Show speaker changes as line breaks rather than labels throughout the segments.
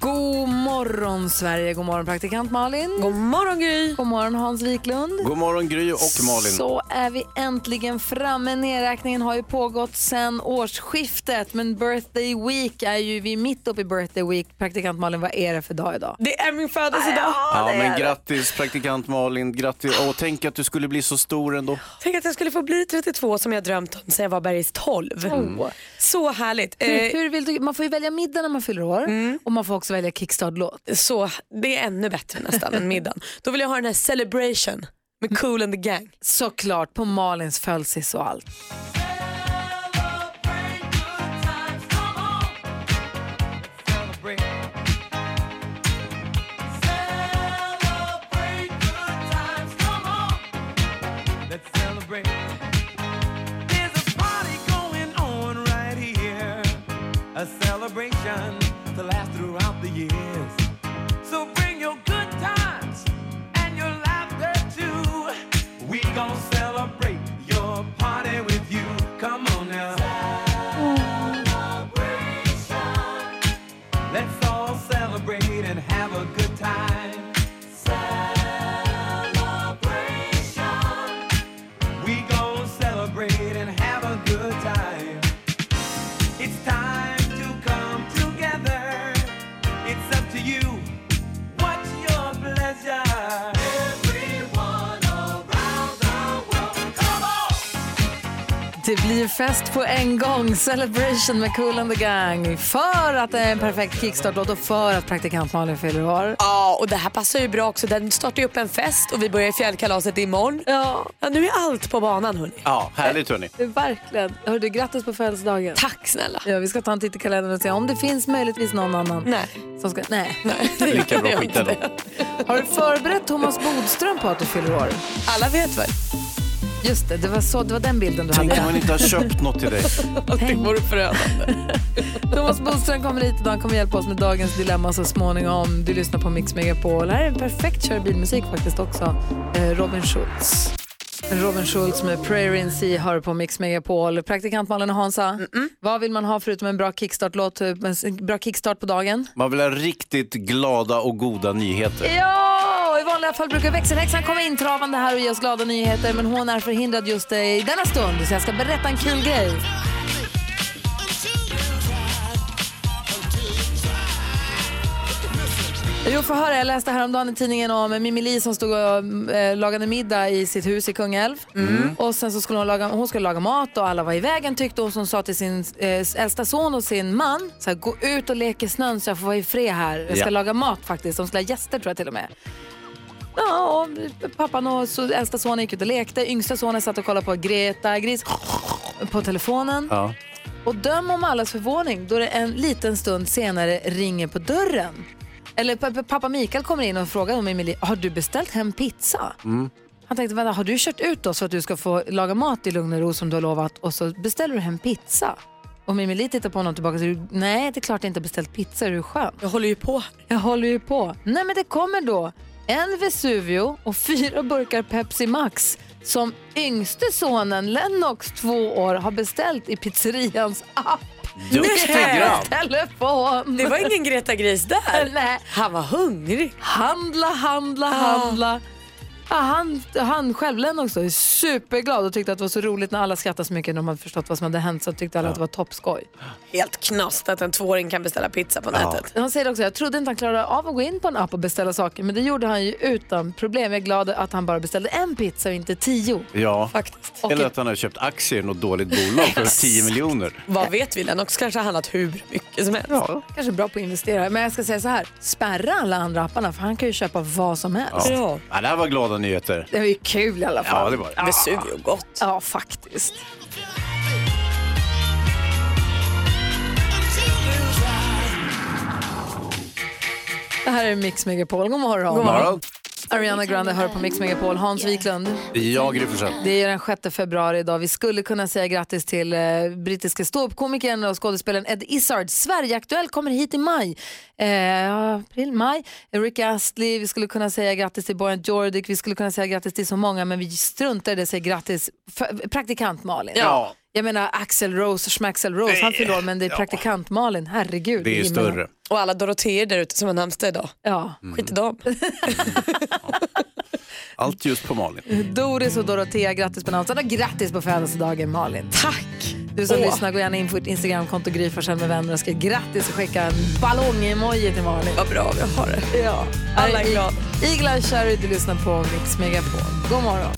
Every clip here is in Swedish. God morgon Sverige, god morgon praktikant Malin. God morgon Gry. God morgon Hans Wiklund.
God morgon Gry och Malin.
Så är vi äntligen framme. Nedräkningen har ju pågått sedan årsskiftet men birthday week är ju vi är mitt uppe i birthday week. Praktikant Malin, vad är det för dag idag?
Det är min födelsedag.
Ja, men grattis praktikant Malin. Grattis. Åh, tänk att du skulle bli så stor ändå.
Tänk att jag skulle få bli 32 som jag drömt om sedan jag var bergis 12.
Mm.
Så härligt.
Hur,
Eh, Mm.
hur vill du, man får ju välja middag när man fyller år och man får också välja kickstart-låt.
så det är ännu bättre nästan än middagen. Då vill jag ha den här celebration med Cool and the Gang.
Såklart på Malins födelsedag och allt.
A celebration to last throughout the years. So bring your good times and your laughter too. We gon' celebrate your party with you. Come on now. Celebration. Let's all celebrate and have a good time. Celebration. We gon' celebrate and have a good time. It's time to come together. It's up to you. What's your pleasure? Everyone around the world, come on!
Det blir fest på en gång. Celebration med Cool and the Gang. För att det är en perfekt kickstart-låt och för att praktikant Malin fyller år.
Ja, och det här passar ju bra också. Den startar ju upp en fest och vi börjar fjällkalaset imorgon.
Ja,
Ja, nu är allt på banan hörni.
Ja, härligt hörni.
det är verkligen. Hör du, grattis på födelsedagen.
Tack snälla.
Ja, vi ska ta en titt i kalendern och se om det finns möjligtvis någon annan.
Nej.
Som ska, nej.
Lika bra skit ändå.
Har du förberett Thomas Bodström på att du fyller år?
Alla vet väl?
Just det, det var, så, det var den bilden du
Tänk om
hade.
man inte har köpt något till dig.
Det vore förödande.
Thomas Bodström kommer hit idag och kommer hjälpa oss med dagens dilemma så småningom. Du lyssnar på Mix Megapol. Här är en perfekt körbilmusik faktiskt också. Eh, Robin Schultz. Robin Schultz med Prayer in Sea hör på Mix Megapol. Praktikant Malin och Hansa, vad vill man ha förutom en bra kickstart-låt, eh, en bra kickstart på dagen?
Man vill ha riktigt glada och goda nyheter.
Ja, i vanliga fall brukar växelhäxan komma in travande här och ge oss glada nyheter men hon är förhindrad just eh, i denna stund så jag ska berätta en kul grej. Jo, för höra. Jag läste häromdagen i tidningen om Mimmi Li som stod och eh, lagade middag i sitt hus i Kungälv. Och sen så skulle hon, laga, hon skulle laga mat och alla var i vägen tyckte hon. Så hon sa till sin eh, äldsta son och sin man, så här, gå ut och lek i snön så jag får vara i fred här. Jag ska
Ja.
laga mat faktiskt. De skulle ha gäster tror jag till och med. Ja, och pappan och så, äldsta sonen gick ut och lekte. Yngsta sonen satt och kollade på Greta Gris på telefonen.
Ja.
Och döm om allas förvåning då det en liten stund senare ringer på dörren. Eller p- p- pappa Mikael kommer in och frågar om Emilie, har du beställt hem pizza?
Mm.
Han tänkte, vänta, har du kört ut oss för att du ska få laga mat i lugn och ro som du har lovat och så beställer du hem pizza? Och Mimmi tittar på honom tillbaka och säger, nej det är klart jag inte beställt pizza, är du skön?
Jag håller ju på.
Jag håller ju på. Nej men det kommer då en Vesuvio och fyra burkar Pepsi Max som yngste sonen Lennox, två år, har beställt i pizzerians app.
Duktig grabb.
Telefon!
Det var ingen Greta Gris där.
Nej.
Han var hungrig.
Handla, handla,
Ah.
handla. Ja, han, han själv, Lennox, då, är superglad och tyckte att det var så roligt när alla skrattade så mycket när de hade förstått vad som hade hänt så tyckte alla att det var toppskoj.
Helt knast att en tvååring kan beställa pizza på nätet.
Han säger också, jag trodde inte han klarade av att gå in på en app och beställa saker men det gjorde han ju utan problem. Jag är glad att han bara beställde en pizza och inte tio.
Ja.
Faktiskt.
Eller att han har köpt aktier i något dåligt bolag för 10 miljoner.
Vad vet vi? Lennox kanske har handlat hur mycket som helst.
Ja.
Kanske bra på att investera men jag ska säga så här, spärra alla andra apparna för han kan ju köpa vad som helst.
Ja. Ja, det här var glada nyheter.
Det var ju kul i alla fall.
Ja, det var det.
Vesuvio gott.
Ja, faktiskt. Det här är Mix Megapol. God morgon.
God morgon.
Ariana Grande hör på Mix Megapol. Hans Wiklund.
Jag, Gry Forssell.
Det är den 6 februari idag. Vi skulle kunna säga grattis till eh, brittiska ståuppkomikern och skådespelaren Ed Izzard. Sverigeaktuell kommer hit i maj. Eh, april, maj. Rick Astley. Vi skulle kunna säga grattis till Bojan Jordik. Vi skulle kunna säga grattis till så många men vi struntar i det och säger grattis. F- praktikant Malin.
Ja.
Jag menar Axel Rose och Schmaxel Rose. Han fyller år, men det är praktikant Malin. Herregud.
Det är
i
ju
himlen.
större.
Och alla Doroteer där ute som har namnsdag idag.
Ja.
Skit i dem.
Allt just på Malin.
Doris och Dorothea, grattis på namnsdagen och grattis på födelsedagen Malin.
Tack!
Du som
Åh.
lyssnar, gå gärna in på ditt Instagramkonto Gry Forssell med vänner och skriv grattis och skicka en ballong-emoji till Malin.
Vad bra vi har det.
Ja,
alla är glada.
Igla Cherry, du lyssnar på Mix Megapol. God morgon.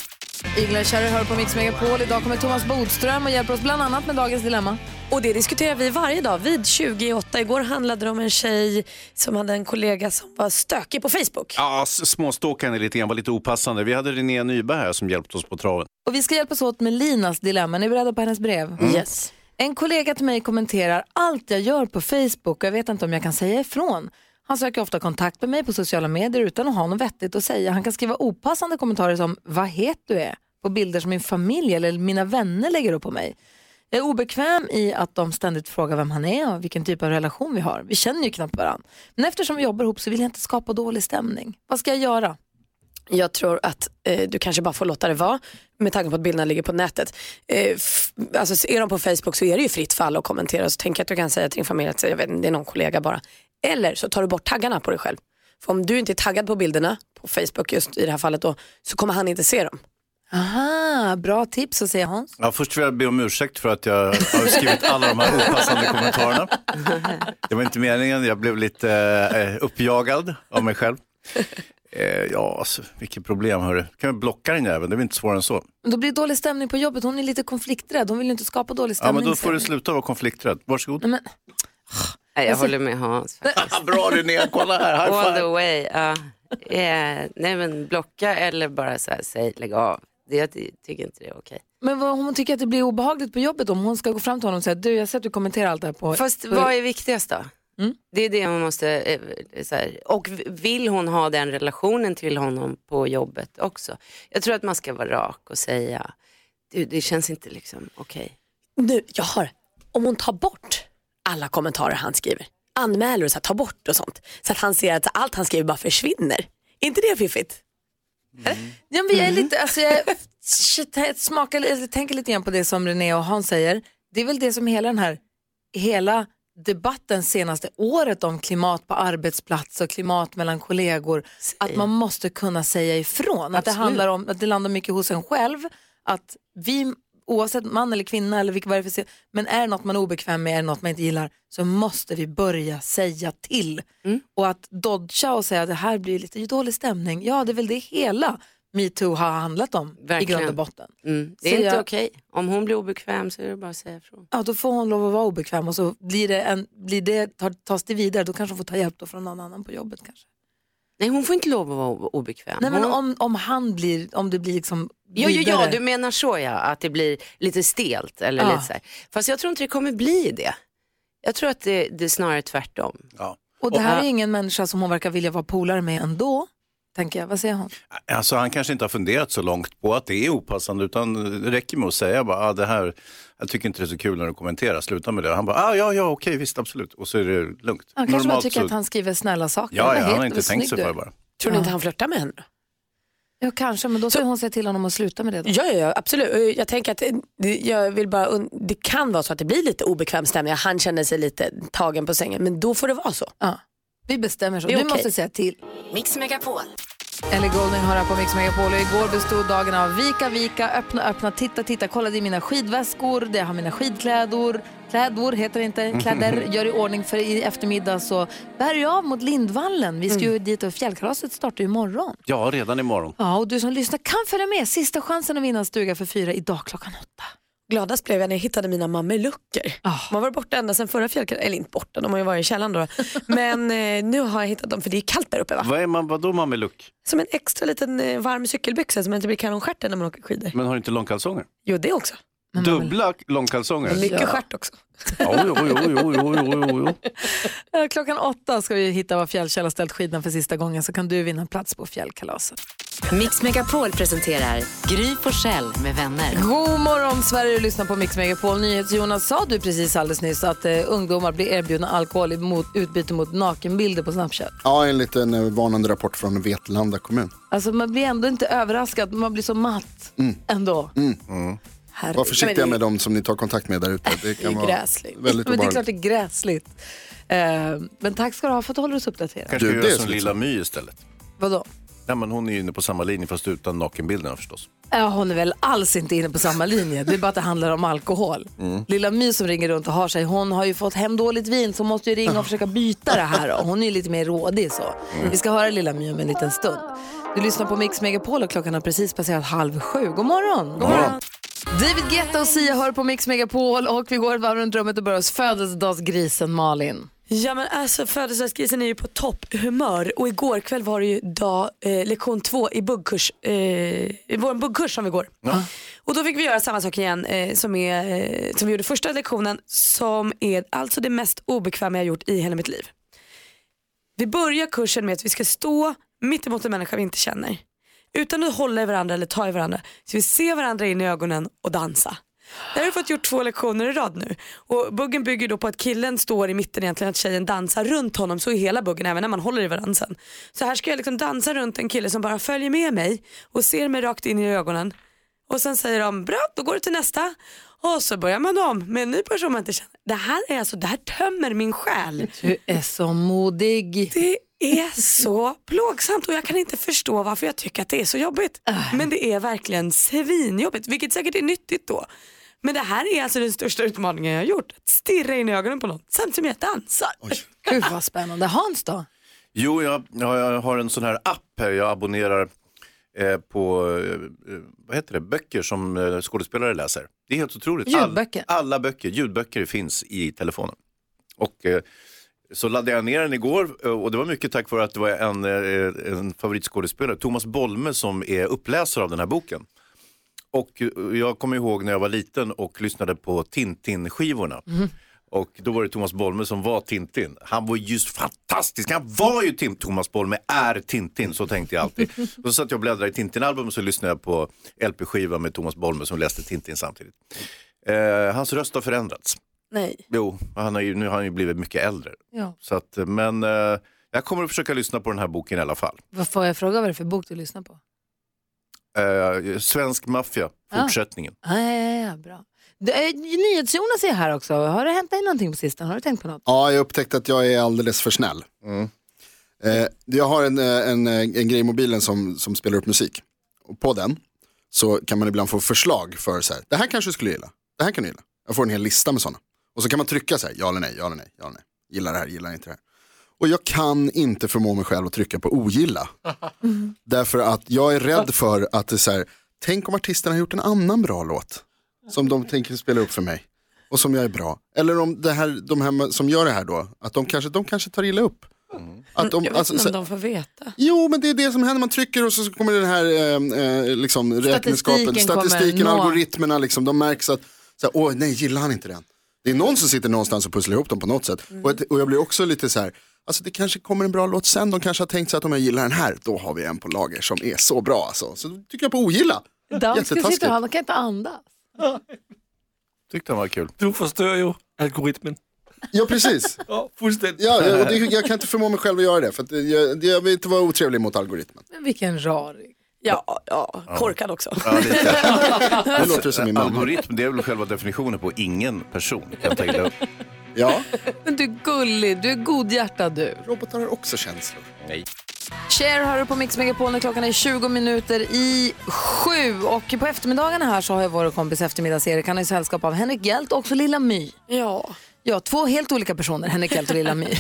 Igla Cherry hör på Mix Megapol. Idag kommer Thomas Bodström och hjälper oss bland annat med dagens dilemma.
Och det diskuterar vi varje dag vid 28. Igår handlade det om en tjej som hade en kollega som var stökig på Facebook.
Ja, s- småstalkaren är lite grann, var lite opassande. Vi hade Linnea Nyberg här som hjälpte oss på traven.
Och vi ska hjälpas åt med Linas dilemma. Är ni beredda på hennes brev?
Mm. Yes.
En kollega till mig kommenterar allt jag gör på Facebook och jag vet inte om jag kan säga ifrån. Han söker ofta kontakt med mig på sociala medier utan att ha något vettigt att säga. Han kan skriva opassande kommentarer som “Vad het du är” på bilder som min familj eller mina vänner lägger upp på mig. Jag är obekväm i att de ständigt frågar vem han är och vilken typ av relation vi har. Vi känner ju knappt varandra. Men eftersom vi jobbar ihop så vill jag inte skapa dålig stämning. Vad ska jag göra?
Jag tror att eh, du kanske bara får låta det vara med tanke på att bilderna ligger på nätet. Eh, f- alltså, så är de på Facebook så är det ju fritt för alla att kommentera. Så tänk att du kan säga till din familj att jag vet, inte, det är någon kollega bara. Eller så tar du bort taggarna på dig själv. För om du inte är taggad på bilderna på Facebook just i det här fallet då så kommer han inte se dem.
Aha, Ah, bra tips att säga Hans.
Ja, först vill jag be om ursäkt för att jag har skrivit alla de här opassande kommentarerna. Det var inte meningen, jag blev lite eh, uppjagad av mig själv. Eh, ja, alltså, vilket problem hörru. Kan vi blocka den jäveln, det är väl inte svårare än så.
Men Då blir det dålig stämning på jobbet. Hon är lite konflikträdd. Hon vill ju inte skapa dålig
Ja,
stämning.
men då får
sen.
du sluta vara konflikträdd. Varsågod.
Nej, men,
Nej,
Alltså-
jag håller med Hans.
Bra Linnea, kolla här,
All the way. ja. Eh, nej men blocka eller bara så här, säg lägg av. Det, jag ty- tycker inte det är okej.
men vad, hon tycker att det blir obehagligt på jobbet om hon ska gå fram till honom och säga du jag ser att du kommenterar allt det här på...
Fast
på-
vad är viktigast då?
Mm.
Det är det man måste, eh, så här, och v- vill hon ha den relationen till honom på jobbet också? Jag tror att man ska vara rak och säga, du, det känns inte liksom okej.
Nu, jag har. Om hon tar bort alla kommentarer han skriver, anmäler och så här, tar bort och sånt. Så att han ser att allt han skriver bara försvinner. Är inte det fiffigt?
Ja, men jag
Mm.
är lite, alltså, jag shit, jag smakar, li- jag tänker lite grann på det som René och Hans säger. Det är väl det som hela den här hela debatten senaste året om klimat på arbetsplats och klimat mellan kollegor. Att man måste kunna säga ifrån. Att det handlar om att det landar mycket hos en själv. Att vi, oavsett man eller kvinna eller vilka vad det är för se- men är det något man är obekväm med, är det något man inte gillar så måste vi börja säga till. Och att dodga och säga att det här blir lite dålig stämning. Ja, det är väl det hela metoo har handlat om i
Verkligen.
grund och botten.
Mm. Det är
Så
inte
jag-
okej. Om hon blir obekväm så är det bara att säga ifrån.
Ja, då får hon lov att vara obekväm och så blir det en, blir det, tar, tas det vidare. Då kanske hon får ta hjälp då från någon annan på jobbet kanske.
Nej hon får inte lov att vara o- obekväm.
Nej, men
Hon-
om, om han blir, om det blir liksom
Ja, ja, ja,
vidare.
du menar så ja, att det blir lite stelt eller
Ja.
lite så här. Fast jag tror inte det kommer bli det. Jag tror att det, det är snarare tvärtom.
Ja.
Och det här är ingen människa som hon verkar vilja vara polare med ändå. Tänker jag, vad säger hon?
Alltså, han kanske inte har funderat så långt på att det är opassande utan det räcker med att säga bara, ah, det här, jag tycker inte det är så kul när du kommenterar, sluta med det. Han bara, ah, ja, ja, okej, visst, absolut. Och så är det lugnt.
Han kanske bara tycker
så-
att han skriver snälla saker. Vad
Ja, ja, han
heter
har
du?
inte tänkt sig
Snygg
för
du är.
bara.
Tror ni inte han flörtar med henne?
Ja, kanske, men då får hon säga till honom att sluta med det. Då.
Ja, ja, ja, absolut. Och Jag tänker att eh, det- jag vill bara, und- det kan vara så att det blir lite obekväm stämning. Han känner sig lite tagen på sängen, men då får det vara så.
Ja. Vi bestämmer så.
Det är
Du
okej.
måste säga till.
Mix Megapol.
Ellie Goulding hör här på Mix Megapol och igår bestod dagen av vika, vika, öppna, öppna, titta, titta, kolla det är mina skidväskor, det har mina skidklädor, klädor heter det inte, kläder, gör i ordning för i eftermiddag så bär jag av mot Lindvallen. Vi ska ju
Mm.
dit och fjällkalaset startar ju imorgon.
Ja, redan imorgon.
Ja, och du som lyssnar kan följa med. Sista chansen att vinna en stuga för fyra idag klockan åtta.
Gladast blev jag när jag hittade mina mamelucker.
Ah.
De har varit borta ända sedan förra fjällkalaset, eller inte borta, de har ju varit i källaren då. Men eh, nu har jag hittat dem, för det är kallt där uppe va?
Vad är man, vadå mameluck?
Som en extra liten eh, varm cykelbyxa som inte blir kanonstjärten när man åker skidor.
Men har du inte långkalsonger?
Jo, det också.
Men man vill-
Dubbla långkalsonger?
Mycket
Ja.
stjärt också.
Ja, jo, jo, jo, jo, jo, jo, jo.
Eh, Klockan åtta ska vi hitta var Fjällkäll har ställt skidorna för sista gången så kan du vinna en plats på fjällkalaset.
Mix Megapol presenterar Gry på Shell med vänner.
God morgon Sverige, du lyssnar på Mix Megapol. NyhetsJonas sa du precis alldeles nyss att eh, ungdomar blir erbjudna alkohol i mot, utbyte mot nakenbilder på Snapchat.
Ja, enligt en eh, varnande rapport från Vetlanda kommun.
Alltså man blir ändå inte överraskad, man blir så matt ändå. Herregud.
Mm. Var försiktiga med dem som ni tar kontakt med där ute. Det
Det
kan
är
vara
gräsligt.
väldigt
Men det är klart
obehagligt.
det är gräsligt. Eh, men tack ska du ha för att du håller oss uppdaterade.
Kanske
Du,
göra
det är
som
så
Lilla My istället.
Vadå?
Nej, men hon är ju inne på samma linje fast utan nakenbilderna förstås.
Ja, hon är väl alls inte inne på samma linje. Det är bara att det handlar om alkohol.
Mm.
Lilla My som ringer runt och har sig, hon har ju fått hem dåligt vin så hon måste ju ringa och försöka byta det här. Och hon är ju lite mer rådig så. Vi ska höra Lilla My om en liten stund. Du lyssnar på Mix Megapol och klockan har precis passerat halv sju. God morgon! God morgon. David Guetta och Sia hör på Mix Megapol och vi går ett varv runt rummet och börjar hos födelsedagsgrisen Malin.
Ja men alltså födelsedagsgrisen är ju på topphumör och igår kväll var det ju dag, eh, lektion två i buggkurs, eh, i vår buggkurs som vi går. Och då fick vi göra samma sak igen eh, som, är, eh, som vi gjorde första lektionen som är alltså det mest obekväma jag gjort i hela mitt liv. Vi börjar kursen med att vi ska stå mitt emot en människa vi inte känner. Utan att hålla i varandra eller ta i varandra. Så vi ser varandra in i ögonen och dansa. Det har vi fått gjort två lektioner i rad nu. Och buggen bygger då på att killen står i mitten egentligen, att tjejen dansar runt honom. Så är hela buggen även när man håller i varandra sen. Så här ska jag liksom dansa runt en kille som bara följer med mig och ser mig rakt in i ögonen. Och sen säger de bra, då går du till nästa. Och så börjar man om med en ny person man inte känner. Det här är alltså, det här tömmer min själ.
Du är så modig.
Det är så plågsamt och jag kan inte förstå varför jag tycker att det är så jobbigt.
Äh.
Men det är verkligen svinjobbigt, vilket säkert är nyttigt då. Men det här är alltså den största utmaningen jag har gjort. Att stirra in i ögonen på någon samtidigt som jag dansar.
Gud vad spännande. Hans då?
Jo, jag, jag jag har en sån här app här. Jag abonnerar eh, på eh, vad heter det? böcker som eh, skådespelare läser. Det är helt otroligt.
Ljudböcker.
All, alla böcker, ljudböcker finns i telefonen. Och eh, så laddade jag ner den igår eh, och det var mycket tack vare att det var en, eh, en favoritskådespelare, Thomas Bolme, som är uppläsare av den här boken. Och eh, jag kommer ihåg när jag var liten och lyssnade på Tintin-skivorna. Och då var det Thomas Bolme som var Tintin. Han var just fantastisk, han var ju Tintin. Thomas Bolme är Tintin, så tänkte jag alltid. Och så satt jag och bläddrade i Tintin-album och så lyssnade jag på LP-skivan med Thomas Bolme som läste Tintin samtidigt. Eh, hans röst har förändrats.
Nej.
Jo, han har ju, nu har han ju blivit mycket äldre.
Ja.
Så att, men eh, jag kommer att försöka lyssna på den här boken i alla fall.
Vad får jag fråga vad det är för bok du lyssnar på?
Eh, Svensk maffia,
Ah.
fortsättningen.
Ja, ja, ja, ja, bra. Det är- NyhetsJonas är här också. Har det hänt dig någonting på sistone? Har du tänkt på något?
Ja, jag upptäckte att jag är alldeles för snäll. Eh, jag har en, eh, en, eh, en grej i mobilen som, som spelar upp musik. Och på den så kan man ibland få förslag för så här, det här kanske du skulle gilla, det här kan du gilla. Jag får en hel lista med sådana. Och så kan man trycka så här, ja eller nej, ja eller nej, ja eller nej. Gillar det här, gillar inte det här. Och jag kan inte förmå mig själv att trycka på ogilla. Därför att jag är rädd för att det är så här, tänk om artisten har gjort en annan bra låt. Som de tänker spela upp för mig. Och som jag är bra. Eller om det här, de här som gör det här då, att de kanske, de kanske tar illa upp. Att de,
Jag vet
alltså,
inte
så,
om de får veta.
Jo, men det är det som händer. Man trycker och så kommer den här eh, eh, liksom, räkenskapen,
kommer
statistiken,
nå-
algoritmerna, liksom, de märks att, så här, åh nej, gillar han inte den? Det är någon som sitter någonstans och pusslar ihop dem på något sätt.
Mm.
Och, ett, och jag blir också lite så här, alltså det kanske kommer en bra låt sen, de kanske har tänkt sig att om jag gillar den här, då har vi en på lager som är så bra alltså. Så då tycker jag på ogilla.
Dansken sitter
Jättetaskigt.
och han kan inte andas.
Tyckte han var kul.
Du förstör ju algoritmen.
Ja, precis.
Ja, fullständigt.
Ja, jag, och det, jag kan inte förmå mig själv att göra det, för att eh, jag, jag vill inte vara otrevlig mot algoritmen.
Men vilken raring.
Ja, ja korkad också.
Ja, lite.
Det låter som min mamma.
Algoritm, det är väl själva definitionen på ingen person. Kan jag tänka mig.
Ja,
Men du är gullig, du är godhjärtad du.
robotar har också känslor.
Cher har du på Mix Megapol när klockan är 20 minuter i sju. Och på eftermiddagarna här så har jag vår kompis eftermiddags-Erik. Han är i sällskap av Henrik Hjelt och också Lilla My.
Ja.
Ja, två helt olika personer, Henrik Hjelt och Lilla My.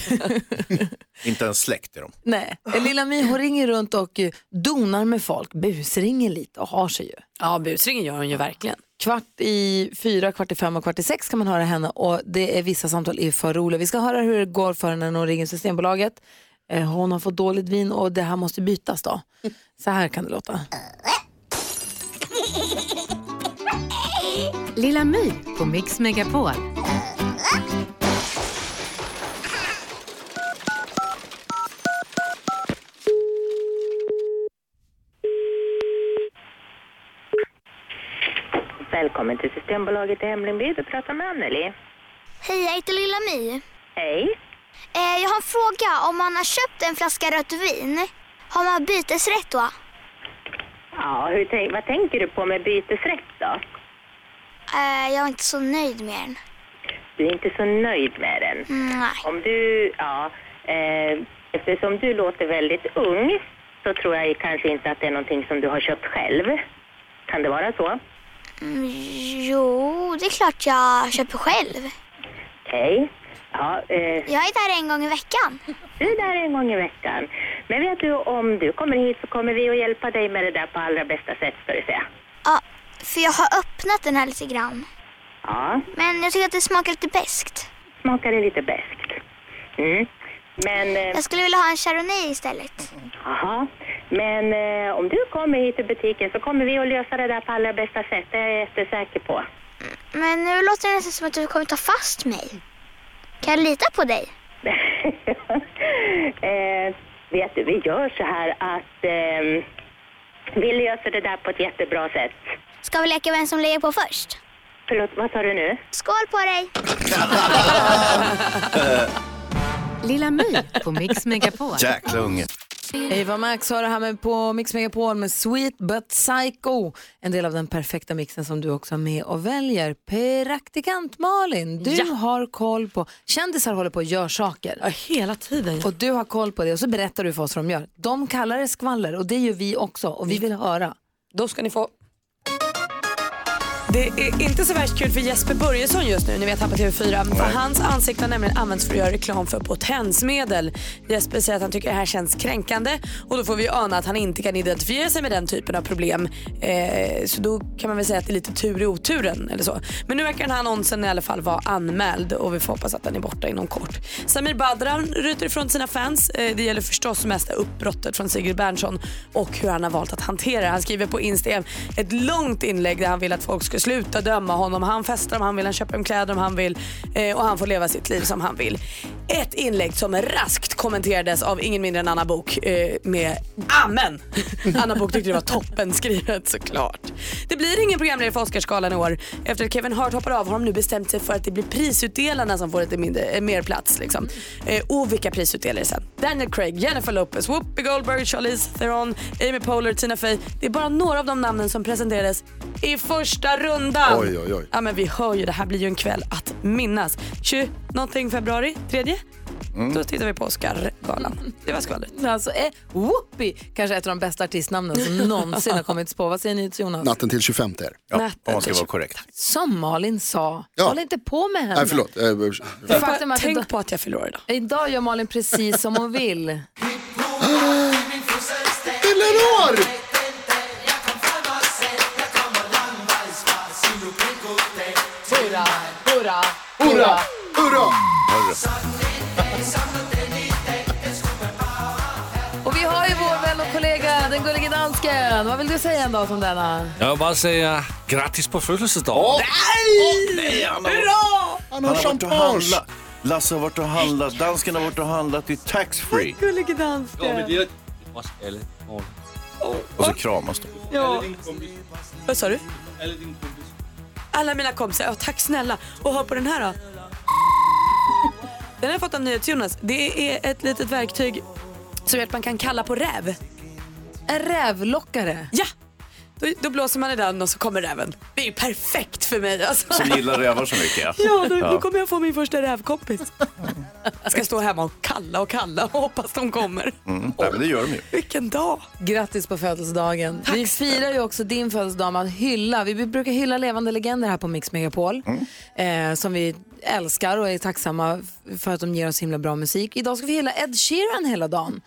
Inte ens släkt är de.
Nej, Lilla My hon ringer runt och eh, donar med folk, busringer lite och har sig ju.
ja, busringen gör hon ju verkligen.
Kvart i fyra, kvart i fem och kvart i sex kan man höra henne och det är vissa samtal är för roliga. Vi ska höra hur det går för henne när hon ringer Systembolaget. Eh, Hon har fått dåligt vin och det här måste bytas
Mm.
då. Så här kan det låta.
Lilla My på Mix Megapol.
Välkommen till Systembolaget i Hemlingby. Du pratar med Anneli.
Hej, jag heter Lilla My.
Hej.
Eh, jag har en fråga. Om man har köpt en flaska rött vin, har man bytesrätt då?
Ja, hur tän- vad tänker du på med bytesrätt då?
Eh, jag är inte så nöjd med den.
Du är inte så nöjd med den.
Nej.
Om du, ja, eh, eftersom du låter väldigt ung så tror jag kanske inte att det är någonting som du har köpt själv. Kan det vara så?
Mm, jo, det är klart jag köper själv.
Okej. Ja, eh,
Jag är där en gång i veckan.
du är där en gång i veckan. Men vet du, om du kommer hit så kommer vi att hjälpa dig med det där på allra bästa sätt ska du se.
Ja, för jag har öppnat den här lite grann.
Ja,
Men jag tycker att det smakar lite beskt.
smakar det lite beskt. Mm. Men... eh,
Jag skulle vilja ha en Chardonnay istället.
Jaha. Men eh, om du kommer hit till butiken så kommer vi att lösa det där på allra bästa sätt. Det är jag jättesäker på.
Men nu låter det nästan som att du kommer ta fast mig. Kan jag lita på dig?
eh, vet du, vi gör så här att eh, vi löser det där på ett jättebra sätt.
Ska vi leka vem som lägger på först?
Förlåt, vad sa du nu?
Skål på dig!
Lilla My på Mix Megapol.
Jäkla unge.
Eva Max har det här med på Mix Megapol med Sweet But Psycho. En del av den perfekta mixen som du också har med och väljer. Praktikant Malin, du har koll på... Kändisar håller på och gör saker. Ja,
hela tiden.
Och du har koll på det och så berättar du för oss vad de gör. De kallar det skvaller och det gör vi också och vi vill höra.
Då ska ni få
Det är inte så värst kul för Jesper Börjesson just nu, ni vet han på TV4. För hans ansikte har nämligen använts för att göra reklam för potensmedel. Jesper säger att han tycker det här känns kränkande och då får vi ana att han inte kan identifiera sig med den typen av problem. Eh, så då kan man väl säga att det är lite tur i oturen eller så. Men nu verkar den här annonsen i alla fall vara anmäld och vi får hoppas att den är borta inom kort. Samir Badran ryter ifrån sina fans. Eh, det gäller förstås mest uppbrottet från Sigrid Bernson och hur han har valt att hantera det. Han skriver på Instagram ett långt inlägg där han vill att folk ska sluta döma honom. Han festar om han vill, han köper hem kläder om han vill eh, och han får leva sitt liv som han vill. Ett inlägg som raskt kommenterades av ingen mindre än Anna Bok eh, med amen. Anna Bok tyckte det var toppen skrivet såklart. Det blir ingen programledare för Oscarsgalan i år. Efter att Kevin Hart hoppar av har de nu bestämt sig för att det blir prisutdelarna som får lite mindre, eh, mer plats. Liksom.
Mm.
Eh, och vilka prisutdelare sen? Daniel Craig, Jennifer Lopez, Whoopi Goldberg, Charlize Theron, Amy Poehler, Tina Fey. Det är bara några av de namnen som presenterades i första rundan.
Oj, oj, oj.
Ja, men vi hör ju, det här blir ju en kväll att minnas. 20 någonting februari, tredje.
Mm.
Då tittar vi på Oscarsgalan. Det var skvallret.
Alltså, eh, Whoopi kanske är ett av de bästa artistnamnen som någonsin har kommits på. Vad säger ni till Jonas?
Natten till 25 är
Ja, Natten om man
ska till vara korrekt.
Som Malin sa,
Ja.
håll inte på med henne.
Nej, förlåt. Eh,
För faktum är att
Tänk
idag-
på att jag förlorar idag.
Idag gör Malin precis som hon vill.
Eleanor!
Hurra, hurra,
Hurra! Hurra!
Och vi har ju vår vän och kollega, den gullige dansken. Vad vill du säga en dag som denna?
Jag vill bara säga grattis på födelsedagen.
Nej! Hurra!
Han har
varit och
champagne.
handlat. Lasse har varit och handlat. Dansken har varit och handlat i
Oh
taxfree.
Gullige dansken.
Ja, men det är oss alla.
Och så kramas de.
Ja. Vad sa du? Alla mina kompisar. Ja, tack snälla. Och hör på den här då. Den har jag fått av NyhetsJonas. Det är ett litet verktyg som gör att man kan kalla på räv.
En rävlockare?
Ja! Då, då blåser man i den och så kommer räven. Det är ju perfekt för mig alltså.
Som gillar rävar så mycket. Ja,
Ja, då, då kommer jag få min första rävkompis. Jag ska stå hemma och kalla och kalla och hoppas de kommer.
Mm. Nej, men det gör de ju.
Vilken dag!
Grattis på födelsedagen. vi firar ju också din födelsedag med att hylla. Vi brukar hylla levande legender här på Mix Megapol. Eh, som vi älskar och är tacksamma f- för att de ger oss himla bra musik. Idag ska vi hylla Ed Sheeran hela dagen.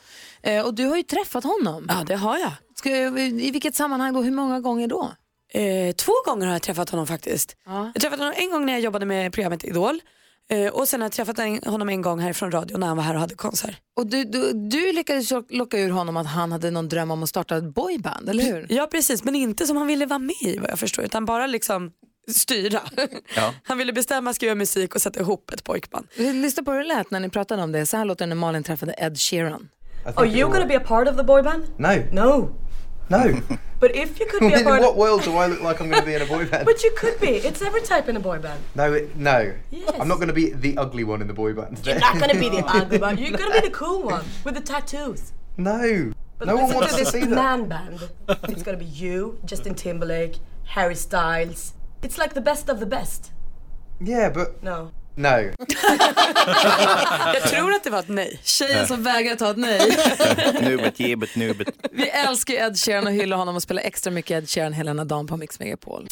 Eh, och du har ju träffat honom.
Ja, det har jag.
Ska, I vilket sammanhang då? Hur många gånger då?
Eh, två gånger har jag träffat honom faktiskt. Jag träffade honom en gång när jag jobbade med programmet Idol eh, och sen har jag träffat en, honom en gång härifrån radio när han var här och hade konsert.
Och du, du, du lyckades lock- locka ur honom att han hade någon dröm om att starta ett boyband, eller hur?
Ja precis, men inte som han ville vara med i vad jag förstår utan bara liksom styra.
Ja.
Han ville bestämma, skriva musik och sätta ihop ett pojkband.
Lyssna på hur det lät när ni pratade om det. Så här låter det när Malin träffade Ed Sheeran.
Alltså,
Are Oh, you going to be a part of the boy band?
No.
No.
No.
But if you could be a
in
part
what
of...
world do I look like I'm going to be in a boy band?
But you could be. It's every type in a boy band.
No, it- no.
Yes.
I'm not going to be the ugly one in the boy band.
You're not going to be the ugly one. You're going to be the cool one with the tattoos.
No.
But
no one
listen
wants to
this
see that.
man band. It's going to be you, Justin Timberlake, Harry Styles. It's like the best of the best.
Yeah, but
no.
No.
Jag tror att det var ett nej. Tjejen
Ja.
som vägrar ta ett nej.
Nubet, gebet, nubet.
Vi älskar ju Ed Sheeran och hyllar honom och spelar extra mycket Ed Sheeran hela den här dagen på Mix Megapol.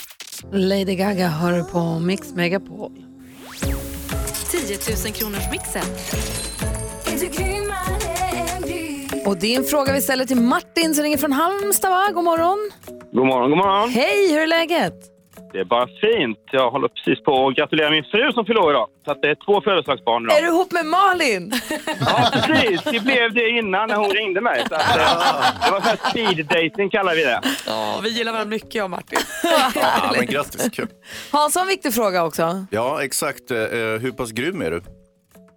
Lady Gaga hör på Mix Megapol.
10 000 kronors mixen.
Och det är en fråga vi ställer till Martin som ringer från Halmstad va? God morgon.
God morgon, god morgon.
Hej, hur är läget?
Det är bara fint. Jag håller precis på att gratulera min fru som fyller år idag. Så att det är två födelsedagsbarn idag.
Är du ihop med Malin?
Ja, precis. Det blev det innan när hon ringde mig. Så att, eh, det var så här speed dating kallar vi det.
Ja, vi gillar varandra mycket jag och Martin.
Ja, men grattis, kul.
Hans har en viktig fråga också.
Ja, exakt. Eh, hur pass grym är du?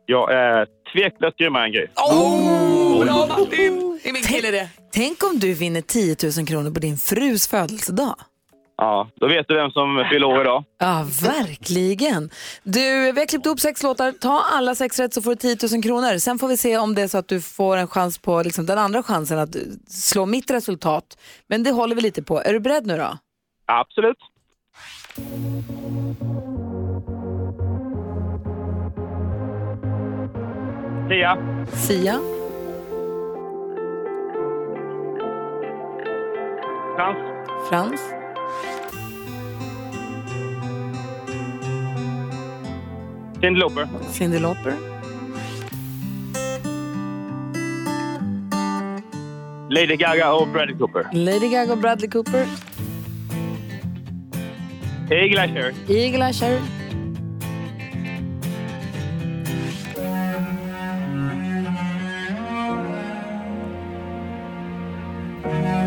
Jag är tveklöst grymmare än Gry.
Oh!
Bra Martin! Det är min kille det.
Tänk om du vinner 10 000 kronor på din frus födelsedag.
Ja, då vet du vem som fyller år idag.
Ja, verkligen. Du, vi har klippt upp sex låtar. Ta alla sex rätt så får du 10 000 kronor. Sen får vi se om det är så att du får en chans på liksom, den andra chansen att slå mitt resultat. Men det håller vi lite på. Är du beredd nu då?
Absolut. Sia.
Sia,
Frans.
Frans,
Cyndi Lauper.
Cyndi Lauper,
Lady Gaga och Bradley Cooper.
Lady Gaga och Bradley Cooper,
Eagle Eye Cherry.
Eagle-Eye Cherry, Ja,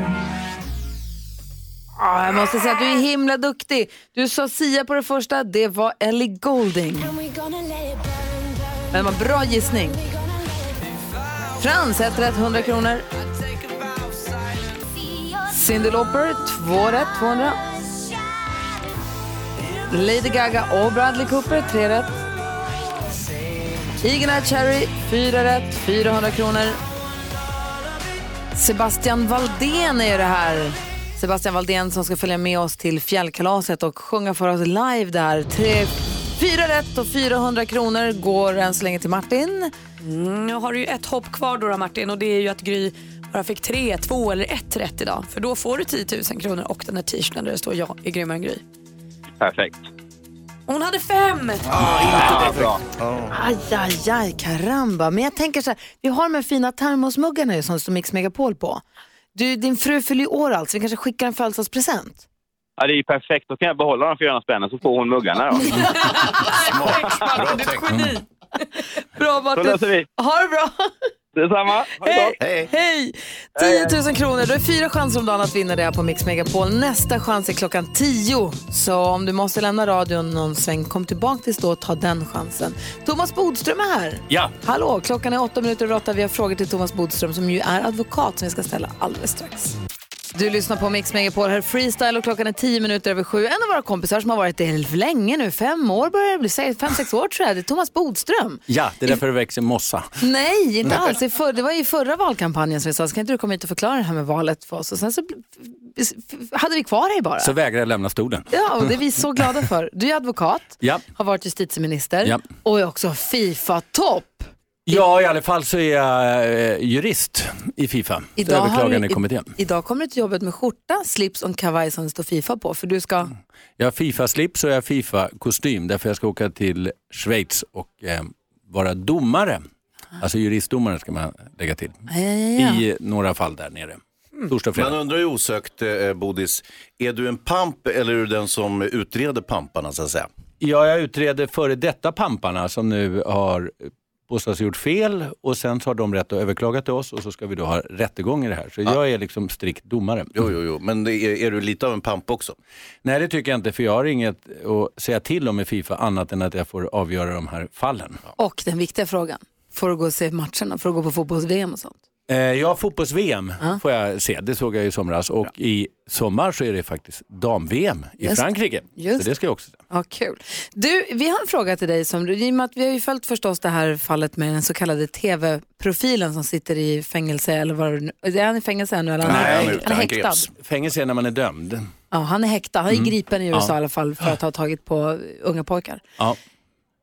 Ah, jag måste säga att du är himla duktig. Du sa Sia på det första, det var Ellie Goulding. Men vad bra gissning. Frans, ett rätt, 100 kronor. Cyndi Lauper, två rätt, 200. Lady Gaga och Bradley Cooper, tre rätt. Eagle Eye Cherry, fyra rätt, 400 kronor. Sebastian Valdén är ju det här. Sebastian Valdén som ska följa med oss till fjällkalaset och sjunga för oss live där. Tre, fyra rätt och 400 kronor går än så länge till Martin.
Mm, nu har du ju ett hopp kvar då, då Martin och det är ju att Gry bara fick tre, två eller ett rätt idag. För då får du 10 000 kronor och den här t-shirten där det står jag är grymmare än Gry.
Perfekt.
Hon hade fem!
Ja, bra.
Aj, aj, aj, karamba. Men jag tänker så här, vi har de här fina termosmuggarna ju som står Mix Megapol på. Du, din fru fyller ju år alltså, vi kanske skickar en födelsedagspresent.
Ja, det är ju perfekt. Då kan jag behålla de 400 spännen så får hon muggarna. Då.
Smart. Bra du är ett geni. Bra
Så
Martin.
löser vi.
Ha det bra.
Detsamma. Ha det
Hej.
gott.
Hej. Hej! 10 000 kronor. Du har fyra chanser om dagen att vinna det här på Mix Megapol. Nästa chans är klockan 10. Så om du måste lämna radion någon sväng, kom tillbaka tills då och ta den chansen. Thomas Bodström är här.
Ja.
Hallå, klockan är åtta minuter över åtta. Vi har frågor till Thomas Bodström som ju är advokat som vi ska ställa alldeles strax. Du lyssnar på Mix Megapol, här är freestyle och klockan är tio minuter över sju. En av våra kompisar som har varit det länge nu, fem år börjar det bli, säg fem, sex år tror jag, det är Thomas Bodström.
Ja, det är därför det växer mossa.
Nej, inte alls. I För, det var i förra valkampanjen som vi sa, ska inte du komma hit och förklara det här med valet för oss? Och sen så bl- f- f- hade vi kvar dig bara.
Så vägrar jag lämna stolen.
Ja, och det är vi så glada för. Du är advokat,
Ja.
har varit justitieminister
Ja.
och är också Fifa-topp.
ja, i alla fall så är jag eh, jurist i Fifa.
Idag har du,
Överklagandekommittén.
i, idag kommer du till jobbet med skjorta, slips och en kavaj som det står Fifa på. För du
Mm.
ska...
Jag har Fifa-slips och jag har Fifa-kostym därför jag ska åka till Schweiz och eh, vara domare. Alltså juristdomare ska man lägga till. I några fall där nere. Torsdag och fredag.
Man undrar ju osökt, eh, Bodis, är du en pamp eller är du den som utreder pamparna så att säga?
Ja, jag utreder före detta pamparna som nu har påstås ha gjort fel och sen så har de rätt att överklaga till oss och så ska vi då ha rättegång i det här. Så jag är liksom strikt domare.
Jo, jo, jo. men det är, är du lite av en pamp också?
Nej, det tycker jag inte för jag har inget att säga till om i Fifa annat än att jag får avgöra de här fallen.
Och den viktiga frågan, får du gå och se matcherna? Får du gå på fotbolls-VM och sånt?
Eh, ja, fotbolls-VM får jag se. Det såg jag i somras. Och i sommar så är det faktiskt dam-VM i
Just det.
Frankrike.
Just
Så det ska jag också se.
Ja, kul. Du, vi har en fråga till dig. Som, i och med att vi har ju följt förstås det här fallet med den så kallade tv-profilen som sitter i fängelse, eller vad det nu- är han i fängelse ännu? Eller han är, häktad.
Fängelse är när man är dömd.
Ja, han är häktad. Han är
Mm.
gripen i USA
Ja.
i alla fall för att ha tagit på unga pojkar.
Ja.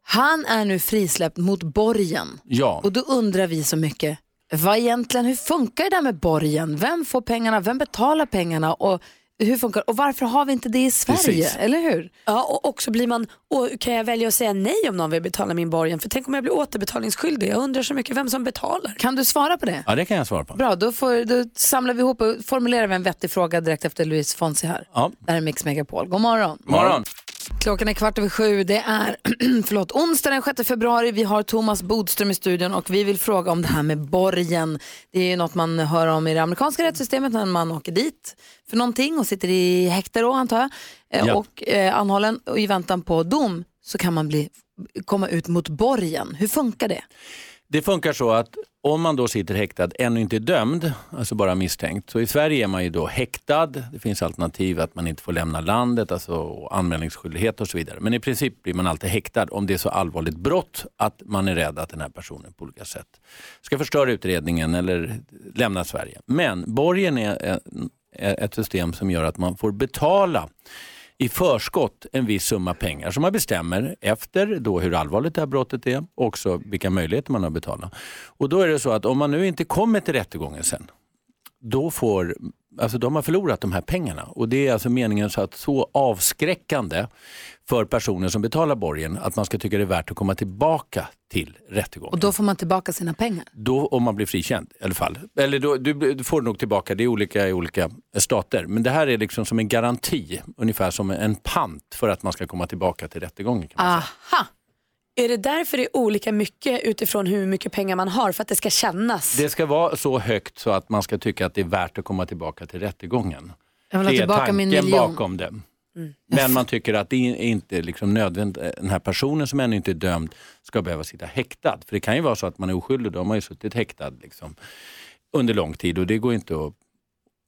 Han är nu frisläppt mot borgen.
ja.
Och då undrar vi så mycket, vad egentligen, hur funkar det där med borgen? Vem får pengarna? Vem betalar pengarna? Och, hur funkar, och varför har vi inte det i Sverige?
Precis.
Eller hur?
Ja, och också blir man, och kan jag välja att säga nej om någon vill betala min borgen? För tänk om jag blir återbetalningsskyldig? Jag undrar så mycket vem som betalar.
Kan du svara på det?
ja, det kan jag svara på.
Bra, då, får, då samlar vi ihop och formulerar vi en vettig fråga direkt efter Louise Fonsi här.
Ja.
Det här är Mix Megapol. God morgon.
God morgon.
Klockan är kvart över sju. Det är förlåt, onsdag den 6 februari. Vi har Thomas Bodström i studion och vi vill fråga om det här med borgen. Det är ju något man hör om i det amerikanska rättssystemet när man åker dit för någonting och sitter i häkte då antar jag. Eh,
Ja.
Och eh, anhållen och i väntan på dom så kan man bli, komma ut mot borgen. Hur funkar det?
Det funkar så att om man då sitter häktad, ännu inte dömd, alltså bara misstänkt. Så i Sverige är man ju då häktad. Det finns alternativ att man inte får lämna landet, alltså och anmälningsskyldighet och så vidare. Men i princip blir man alltid häktad om det är så allvarligt brott att man är rädd att den här personen på olika sätt ska förstöra utredningen eller lämna Sverige. Men borgen är en- är ett system som gör att man får betala i förskott en viss summa pengar som man bestämmer efter då hur allvarligt det här brottet är och också vilka möjligheter man har att betala. Och då är det så att om man nu inte kommer till rättegången sen, då får, alltså de har förlorat de här pengarna. Och det är alltså meningen så att så avskräckande för personer som betalar borgen att man ska tycka det är värt att komma tillbaka till rättegången.
Och då får man tillbaka sina pengar.
Då, om man blir frikänd i alla fall. Eller då, du, du får nog tillbaka, det är olika i olika stater. Men det här är liksom som en garanti, ungefär som en pant för att man ska komma tillbaka till rättegången.
Aha. Är det därför det är olika mycket utifrån hur mycket pengar man har? För att det ska kännas?
Det ska vara så högt så att man ska tycka att det är värt att komma tillbaka till rättegången.
Jag vill ha
det är
tillbaka
tanken
min miljon. Mm.
bakom det. Men man tycker att det är inte liksom nödvändigt, den här personen som ännu inte är dömd ska behöva sitta häktad. För det kan ju vara så att man är oskyldig, då har man ju suttit häktad liksom, under lång tid och det går inte att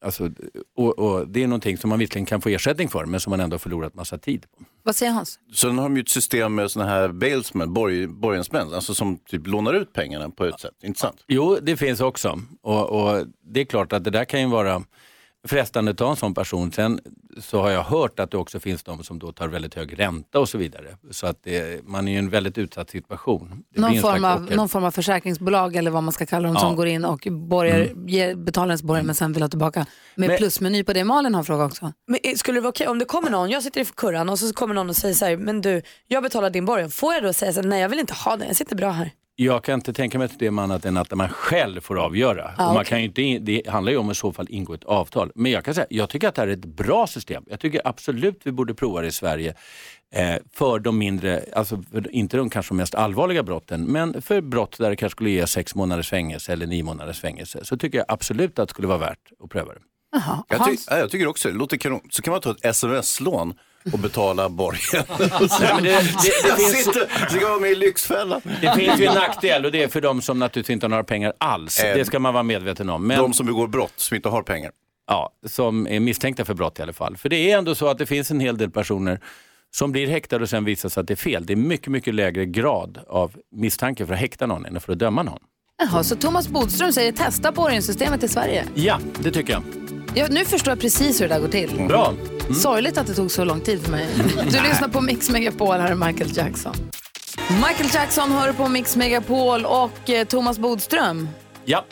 Alltså, och, och det är någonting som man visserligen kan få ersättning för men som man ändå har förlorat massa tid på.
Vad säger Hans?
Sen har de ju ett system med såna här bailsmen, borg, borgensmän, alltså som typ lånar ut pengarna på ett sätt. Inte sant?
Jo, det finns också. Och, och Det är klart att det där kan ju vara frestande att ta en sån person. Sen så har jag hört att det också finns de som då tar väldigt hög ränta och så vidare. Så att det, man är ju i en väldigt utsatt situation. Det blir
Någon
en
form,
slags
av,
ocker.
någon form av försäkringsbolag eller vad man ska kalla dem
Ja. Mm.
som går in och borgar, ger, betalar ens borgen men sen vill ha tillbaka med
Men-
plusmeny på det. Malin har en fråga också.
Men eh, skulle det vara okej om det kommer någon, jag sitter i kurran och så kommer någon och säger så här, men du, jag betalar din borgen. Får jag då säga så här, nej jag vill inte ha den, jag sitter bra här.
Jag kan inte tänka mig ett system annat än att man själv får avgöra.
Ah,
och man
okej.
kan ju inte, in- det handlar ju om att i så fall ingå ett avtal. Men jag kan säga, jag tycker att det här är ett bra system. Jag tycker absolut vi borde prova det i Sverige. Eh, för de mindre, alltså för, inte de kanske mest allvarliga brotten, men för brott där det kanske skulle ge sex månaders fängelse eller nio månaders fängelse, så tycker jag absolut att det skulle vara värt att pröva det.
Jag, ty- ja, jag tycker också det låter kanon. Så kan man ta ett sms-lån och betala borgen.
Nej, men det- det- det finns-
Sitter, så kan man vara med i Lyxfällan.
Det finns ju en nackdel och det är för de som naturligtvis inte har några pengar alls.
Eh,
det ska man vara medveten om. Men...
de som begår brott, som inte har pengar.
Ja, som är misstänkta för brott i alla fall. För det är ändå så att det finns en hel del personer som blir häktade och sen visar sig att det är fel. Det är mycket, mycket lägre grad av misstanke för att häkta någon än för att döma någon.
Jaha, så Thomas Bodström säger testa borgenssystemet i Sverige.
Ja, det tycker jag.
Mm.
Ja, nu förstår jag precis hur det där går till.
Bra. Mm.
Sorgligt att det tog så lång tid för mig. Du lyssnar på Mix Megapol, här är Michael Jackson. Michael Jackson hör på Mix Megapol och eh, Thomas Bodström.
Ja.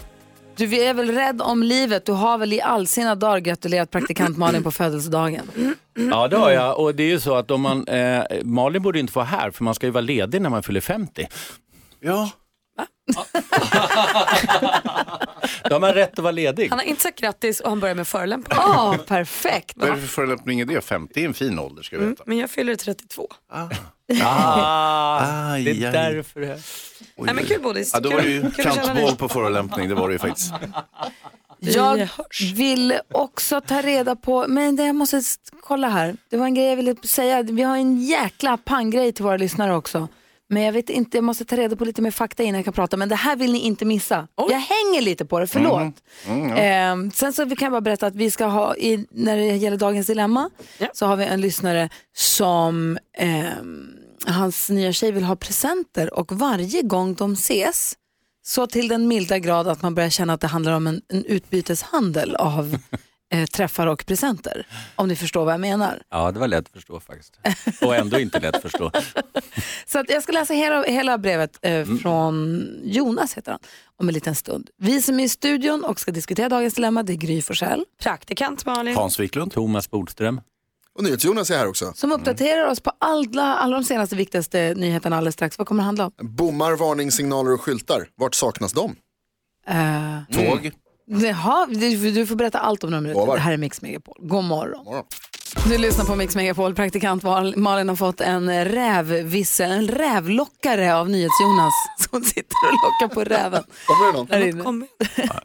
Du är väl rädd om livet? Du har väl i all sina dagar gratulerat praktikant Malin på födelsedagen?
Ja, det har jag. Och det är ju så att om man, eh, Malin borde inte vara här, för man ska ju vara ledig när man fyller 50.
Ja.
Då har man rätt att vara ledig.
Han har inte sagt grattis och han börjar med Mm, förolämpa.
Ja, perfekt.
Vad är det för förolämpning i det? 50 är en fin ålder ska vi veta.
Men jag fyller 32.
Ah,
Ah. det är därför
det här. Nej, men kul Bodis.
Ja, då var det ju
Kul- kul att känna dig.
kantboll på förolämpning, det var det ju faktiskt.
Jag vill också ta reda på, men det jag måste s- kolla här. Det var en grej jag ville säga. Vi har en jäkla panggrej till våra lyssnare också. Men jag vet inte, jag måste ta reda på lite mer fakta innan jag kan prata. Men det här vill ni inte missa. Jag hänger lite på det, förlåt.
Mm,
Ehm, sen så vi kan jag bara berätta att vi ska ha, i, när det gäller dagens dilemma, så har vi en lyssnare som ehm, hans nya tjej vill ha presenter och varje gång de ses så till den milda grad att man börjar känna att det handlar om en, en utbyteshandel av eh, träffar och presenter. Om ni förstår vad jag menar.
Ja, det var lätt att förstå faktiskt. Och ändå inte lätt att förstå.
Så att jag ska läsa hela, hela brevet eh, från Jonas heter han, om en liten stund. Vi som är i studion och ska diskutera dagens dilemma, det är Gry Forssell.
Praktikant Malin.
Hans Wiklund. Thomas Bodström.
Och NyhetsJonas är här också.
Som uppdaterar oss på alla, alla de senaste viktigaste nyheterna alldeles strax. Vad kommer det handla om?
Bommar, varningssignaler och skyltar. Vart saknas de?
Eh,
Tåg.
Jaha, du, du får berätta allt om de minuter. Det här är Mix Megapol. God morgon. Du lyssnar på Mix Megapol. Praktikant Mal- Malin har fått en rävvissel, en rävlockare av NyhetsJonas som sitter och lockar på räven.
Kommer det någon?
Där inne.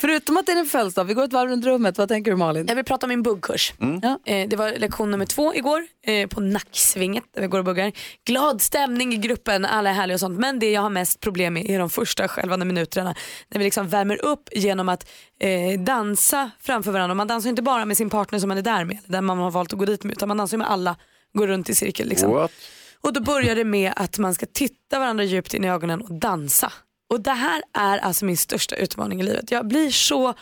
Förutom att det är din födelsedag, vi går ett varv runt rummet. Vad tänker du Malin?
Jag vill prata om min buggkurs.
Mm.
Eh, Det var lektion nummer två igår eh, på Nacksvinget där vi går och buggar. Glad stämning i gruppen, alla är härliga och sånt. Men det jag har mest problem med är de första skälvande minuterna när vi liksom värmer upp genom att eh, dansa framför varandra. Och man dansar inte bara med sin partner som man är där med, den man har valt att gå dit med, utan man dansar ju med alla, går runt i cirkel. Liksom. Och då börjar det med att man ska titta varandra djupt in i ögonen och dansa. Och det här är alltså min största utmaning i livet. Jag blir så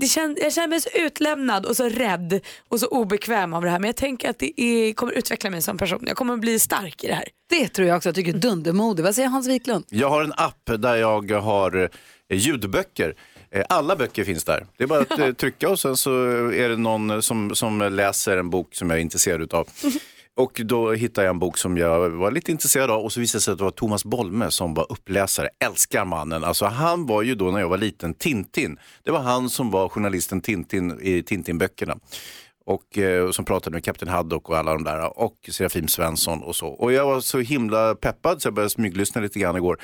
det kän, jag känner mig så utlämnad och så rädd och så obekväm av det här. Men jag tänker att det är, kommer utveckla mig som person. Jag kommer bli stark i det här.
Det tror jag också. Jag tycker dundermodig. Vad säger Hans Wiklund?
Jag har en app där jag har eh, ljudböcker. Eh, Alla böcker finns där. Det är bara att eh, trycka och sen så är det någon eh, som, som läser en bok som jag är intresserad utav. Och då hittade jag en bok som jag var lite intresserad av och så visade det sig att det var Thomas Bolme som var uppläsare. Älskar mannen. Alltså han var ju då när jag var liten Tintin. Det var han som var journalisten Tintin i Tintin-böckerna. Och eh, som pratade med Kapten Haddock och alla de där. Och Serafim Svensson och så. Och jag var så himla peppad så jag började smyglyssna lite grann igår.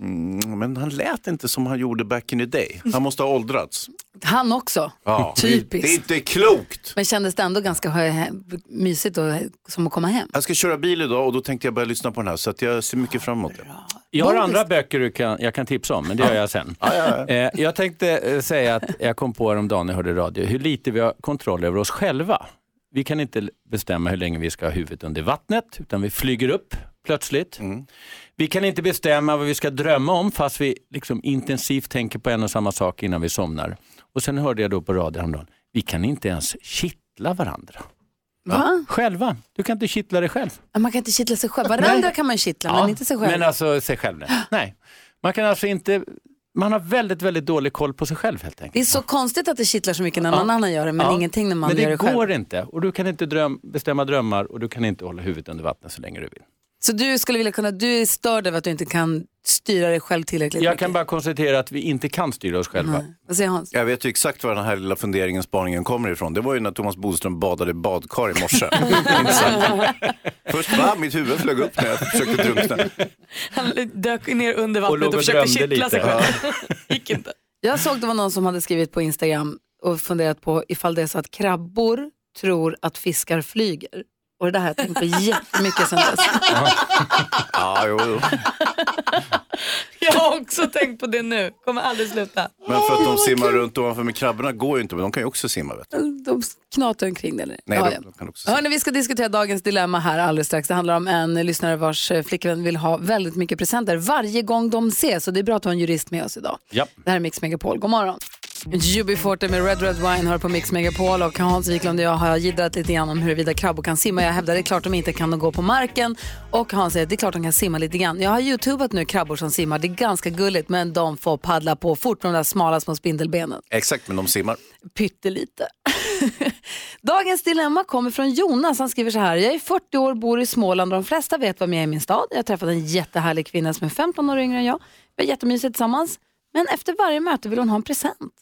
Mm, men han lät inte som han gjorde back in the day. Han måste ha åldrats.
Han också.
Ja.
Typiskt.
Det är inte klokt.
Men kändes det ändå ganska hö- mysigt och, som att komma hem?
Jag ska köra bil idag och då tänkte jag börja lyssna på den här så att jag ser mycket fram emot det.
Jag har
Bodis.
andra böcker du kan, jag kan tipsa om, men det gör jag sen. Eh, Jag tänkte eh, säga att jag kom på häromdagen när jag hörde radio, hur lite vi har kontroll över oss själva. Vi kan inte l- bestämma hur länge vi ska ha huvudet under vattnet, utan vi flyger upp plötsligt.
Mm.
Vi kan inte bestämma vad vi ska drömma om, fast vi liksom intensivt tänker på en och samma sak innan vi somnar. Och sen hörde jag då på radio häromdagen, vi kan inte ens kittla varandra.
Va?
Själva, du kan inte kittla dig själv.
Man kan inte kittla sig själv. Varandra kan man kittla, men inte sig själv.
Men alltså sig själv, nej. nej. Man kan alltså inte, man har väldigt, väldigt dålig koll på sig själv helt enkelt.
Det är så konstigt att det kittlar så mycket när
Ja.
någon annan gör det, men
Ja.
ingenting när man
Men det
gör det själv.
går inte och du kan inte dröm, bestämma drömmar och du kan inte hålla huvudet under vattnet så länge du vill.
Så du skulle vilja kunna, du är störd över att du inte kan styra dig själv tillräckligt
Jag
mycket.
kan bara konstatera att vi inte kan styra oss själva.
Vad säger Hans?
Jag vet ju exakt var den här lilla funderingen, spaningen kommer ifrån. Det var ju när Thomas Bodström badade i badkar i morse. Intressant. Först va, mitt huvud flög upp när jag försökte typ- drunkna.
Han dök ner under
Och
vattnet
låg
och,
och
försökte
drömde
kittla sig
lite.
själv.
Jag såg det var någon som hade skrivit på Instagram och funderat på ifall det är så att krabbor tror att fiskar flyger. Och det där har jag tänkt på jättemycket sen dess.
Ja, jo, jo.
Jag har också tänkt på det nu. Kommer aldrig sluta.
Men för att de simmar runt ovanför, men krabborna går ju inte, men de kan ju också simma. Vet du.
De knatar omkring det. eller?
Nej,
Ja,
de,
ja.
de kan också
Hörrni, vi ska diskutera dagens dilemma här alldeles strax. Det handlar om en lyssnare vars eh, flickvän vill ha väldigt mycket presenter varje gång de ses. Och det är bra att vi har en jurist med oss idag.
Ja.
Det här är Mix Megapol. God morgon. UB40 med Red Red Wine hör på Mix Megapol och Hans Wiklund och jag har jiddrat lite grann om huruvida krabbor kan simma. Jag hävdar det är klart de inte kan de gå på marken och Hans säger att det är klart de kan simma lite grann. Jag har youtubat nu krabbor som simmar. Det är ganska gulligt men de får paddla på fort med de där smala små spindelbenen.
Exakt, men de simmar.
Pyttelite. Dagens dilemma kommer från Jonas. Han skriver så här. Jag är 40 år, bor i Småland och de flesta vet vem jag är i min stad. Jag har träffat en jättehärlig kvinna som är 15 år yngre än jag. Vi har jättemysigt tillsammans. Men efter varje möte vill hon ha en present.